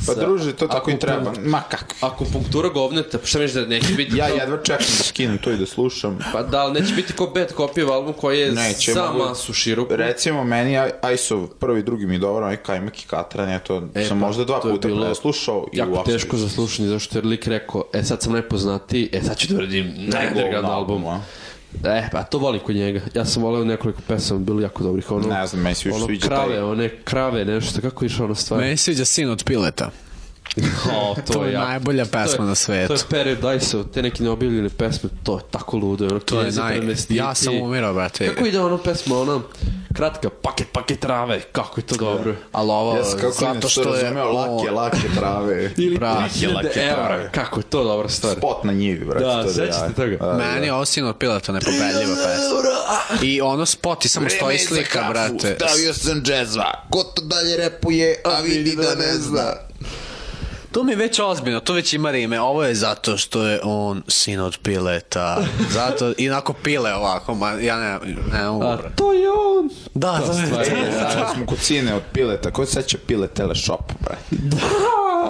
Pa sa druže, to tako i akupun- treba. Ma kakvi. Akupunktura govneta, pa šta misliš da neće biti... Ja to- jedva čekam da skinem to i da slušam. Pa da, ali neće biti ko bad copy album koji je Neće, za mogu- masu široku. Recimo, meni ISO prvi, drugi mi je dobar, onaj Kajmak i Katran, ja to E, sam pa, možda dva to je puta bilo preslušao i Jako uopšte. teško za slušanje, zašto je lik rekao, e sad sam najpoznatiji, e sad ću da uradim najunderground Najglavna album. albuma. E, pa to volim kod njega. Ja sam voleo nekoliko pesama, bili jako dobrih. Ono, Ne znam, meni se još ono, sviđa krave, taj- one krave, nešto, kako je išla ona stvar? Meni se sviđa sin od pileta. O, to, To je jako- najbolja pesma na svetu. To je Paradise, te neke neobjavljene pesme, to je tako ludo. Ono, To je Kinezi naj... premestiti. Ja sam umirao, brate. Kako ide ono pesma, ona kratka, paket, paket trave, kako je to dobro. Ali ovo, Jes, kako zato što je... razumeo, lake, lake trave. Ili Brate, 3000 lake evra, trave. kako je to dobra stvar. Pot na njivi, brate. Da, to sećate jaje. toga? Pa, Da, Meni je ovo sin od pileta nepobedljiva pesma. I ono spot i samo stoji slika, brate. sam džezva. Ko to dalje repuje, a vidi da ne zna. To mi je već ozbiljno, to već ima rime. Ovo je zato što je on sin od pileta. Zato, inako pile ovako, ma, ja ne, ne mogu, A brate. to je on! Da, to je. Sada E, smo kod cine od pileta. Ko se seća pile teleshop, brate?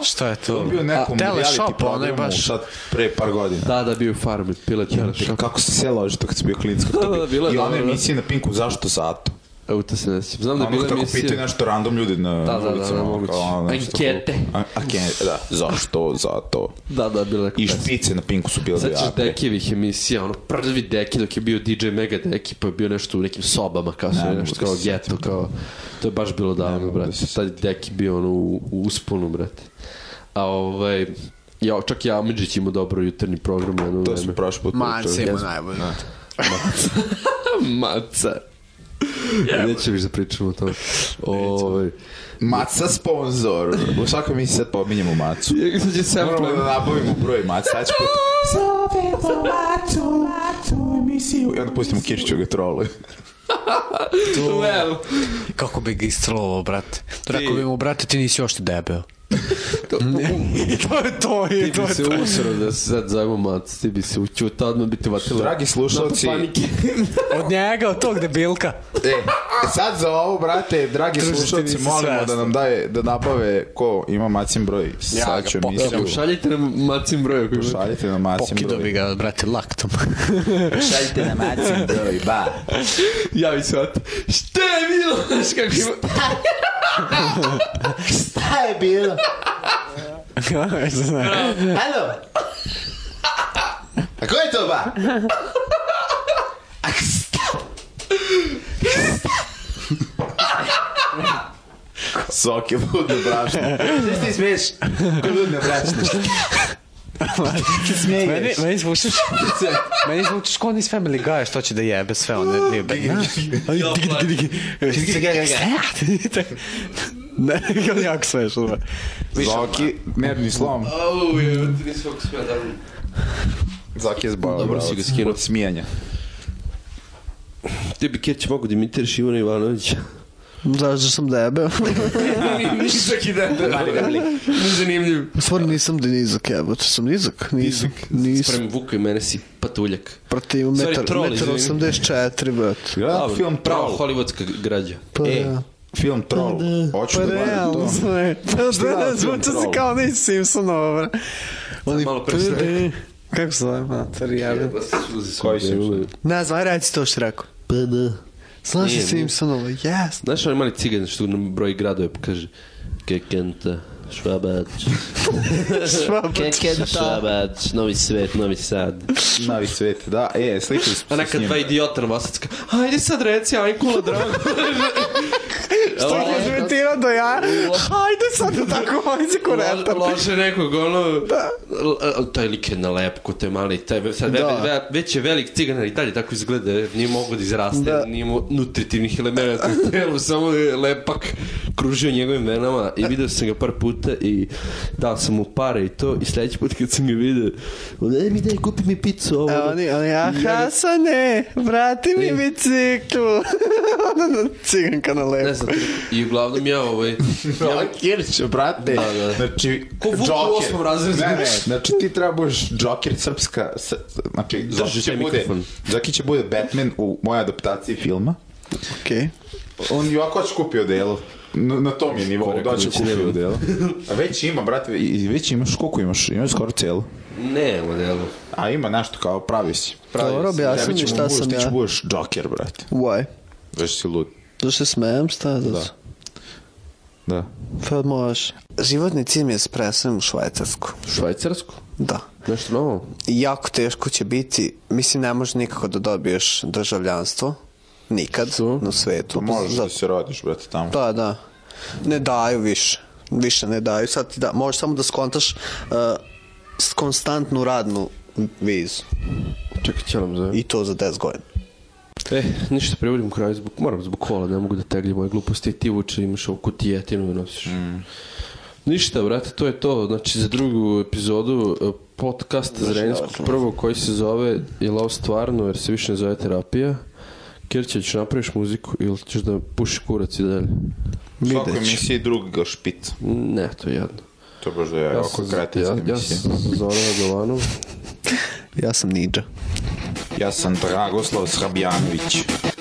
Šta je to? To je bio u nekom A, reality teleshop, ono je programu baš... sad pre par godina. Da, da, bio je farmer, pilet, ja, Te Kako se selo loži to kad si bio klinic kako to Da, da, bilo je I one dobro, da. emisije na Pinku, zašto zato? Evo, to se ne sjećam. Znam da je Ono bila kako emisija... pitaju nešto random ljudi na Da, da, da, ulicama. da, ono, moguće. kao ono nešto Ankete. kao- a- Ankete, da. Zašto, zato. Da, da, bila neka I pesma. špice na Pinku su bile da Sećaš jake. Dekijevih emisija, ono prvi Deki dok je bio DJ Mega Deki, pa je bio nešto u nekim sobama, kao Ne sve mogu nešto da kao se geto, kao... To je baš bilo davno, mogu da se brate. Tad je Deki bio ono u, u usponu, brate. A ovaj... Ja, čak i Amidžić ima dobro jutarnji program jedno To vreme. smo prošli put. Mance pričali. ima najbolje. pa Maca. Neće više da pričamo o tome. Ovaj, Maca sponsor. U svakoj mi sad pominjemo Macu. Ja sad će Moramo sample. da nabavimo broj Maca. Sad ću put... Zovemo Matu, Matu, emisiju. I onda pustimo Kirću ga trolu. Duel. Kako bi ga istrolovao, brate. Rekao bi mu, brate, ti nisi još debel. to je to, Ti je, to bi je se to. usro da se sad zovemo Mac, ti bi se učutao, odmah bi te vatilo. Dragi slušalci, Panike. Od njega, od tog debilka. E, sad za ovo, brate, dragi Druže, ti slušalci, nisi molimo da svestan. nam daje, da nabave ko ima Macin broj. Sad ga ću pokidam. Ja, emisiju. pošaljite nam Macin broj ako imate. Šaljite na Macin Pokido broj. bi ga, brate, laktom. Šaljite na Macin broj, ba. Javi se Ata. Šta E, je bilo? Znaš kako ima? Šta je bilo? Halo? A ko je to, ba? Sok je budno brašno. Šta ti smiješ? Ko je budno brašno? Šta ti smiješ? meni, meni zvučiš... meni zvučiš kao on iz Family Guy, što će da jebe sve one ribe. Ne, on jako smešno. da. Zoki, nervni slom. Au, je, ti nisi fokus smija da Zoki je zbavio. Dobro bravac. si ga skinuo. Od smijanja. Ti bi Kirć mogu da imitiraš Ivana Ivanovića. Zašto sam debel? Nizak i dete. Nezanimljiv. U stvari nisam da nizak jebote, sam nizak? Nisam, nisam. Sprem Vuka i mene si patulja. Proti imam Sorry, metar, troll, metar izvini. 84, brat. Gledam Dobro, film prava Troll. hollywoodska građa. Pa E, da. film Troll. Pa Hoću da gledam to. je. Šta je Pa da, gledao zvuča film se Troll? kao onaj iz Simpsonova, bre. Oni Malo pre što prde. Kako se zove, mater, jebim. Koji Simpson? Ne znam, aj reci to što je rekao. Pa da. Znaš Nije, i nije. Simpsonova, jes. Znaš onaj mali cigan što na broj gradova kaže pa Kekenta, Švabać. Švabac. Keken Švabać. Novi svet, novi sad. Navi svet, da, e, slikali A smo se s neka njim. dva idiota na vasacka. Ajde sad reci, aj kula drago. Što Tako izmetira do ja. Hajde sad da tako oni se kurenta. Lože nekog, ono... Da. Taj lik je na lepku, te mali. Taj, sad, ve, Da. ve, već je velik ciganar i dalje tako izgleda. Nije mogo da izraste, Da. nije imao nutritivnih elemenata u telu, samo je lepak kružio njegovim venama i video sam ga par puta i dao sam mu pare i to i sledeći put kad sam ga video on, e mi daj kupi mi picu ovo. E, oni, oni, a Hasane, vrati mi bicikl. Ona ciganka na Ne levo. znam, i uglavnom ja ovaj... Ja, Kirć, brate. Da, da. Znači, Ko Vuk u Joker. osmom razredu. Ne, ne, znači ti treba budeš Joker srpska, s, znači, Joker će, taj bude, mikrofon. Joker će bude Batman u mojoj adaptaciji filma. Okej. On i ovako će kupio delo. Na, na tom je nivou, rekao da će da će ne kupio bude. delo. A već ima, brate, i- i već imaš, koliko imaš? Imaš skoro celo. Ne, modelu. A ima nešto kao, pravi si. Dobro, objasni Значи, mi šta sam Ti će ja. budeš Joker, brate. Why? Već si lud. Zato što se smejem, šta? Zato. Da. Da. Pa možeš. Životni cilj mi je s presem u Švajcarsku. Švajcarsku? Da. Nešto novo? Jako teško će biti. Mislim, ne možeš nikako da dobiješ državljanstvo. Nikad Što? Pa na svetu. Pa Možeš da Zato- se rodiš, brate, tamo. Da, da. Ne daju više. Više ne daju. Sad ti da, možeš samo da skontaš uh, s konstantnu radnu vizu. Čekaj, će nam zove. I to za 10 godina. E, ništa, privodim kraju zbog, moram zbog kola, ne mogu da tegli moje gluposti, ti vuče, imaš ovu kutijetinu da nosiš. Ništa, brate, to je to, znači za drugu epizodu e, podcast Zrenjanskog prvo koji se zove, je li ovo stvarno, jer se više ne zove terapija, Kirće, ćeš napraviš muziku ili ćeš da puši kurac i dalje? Svako emisiji druga špica. Ne, to je jadno. To je baš da je Ja ovako sam, kretenska ja, ja emisija. sam Zorana Govanov. Ja sam ninja. Ja sam Dragoslav Srbjanović. pa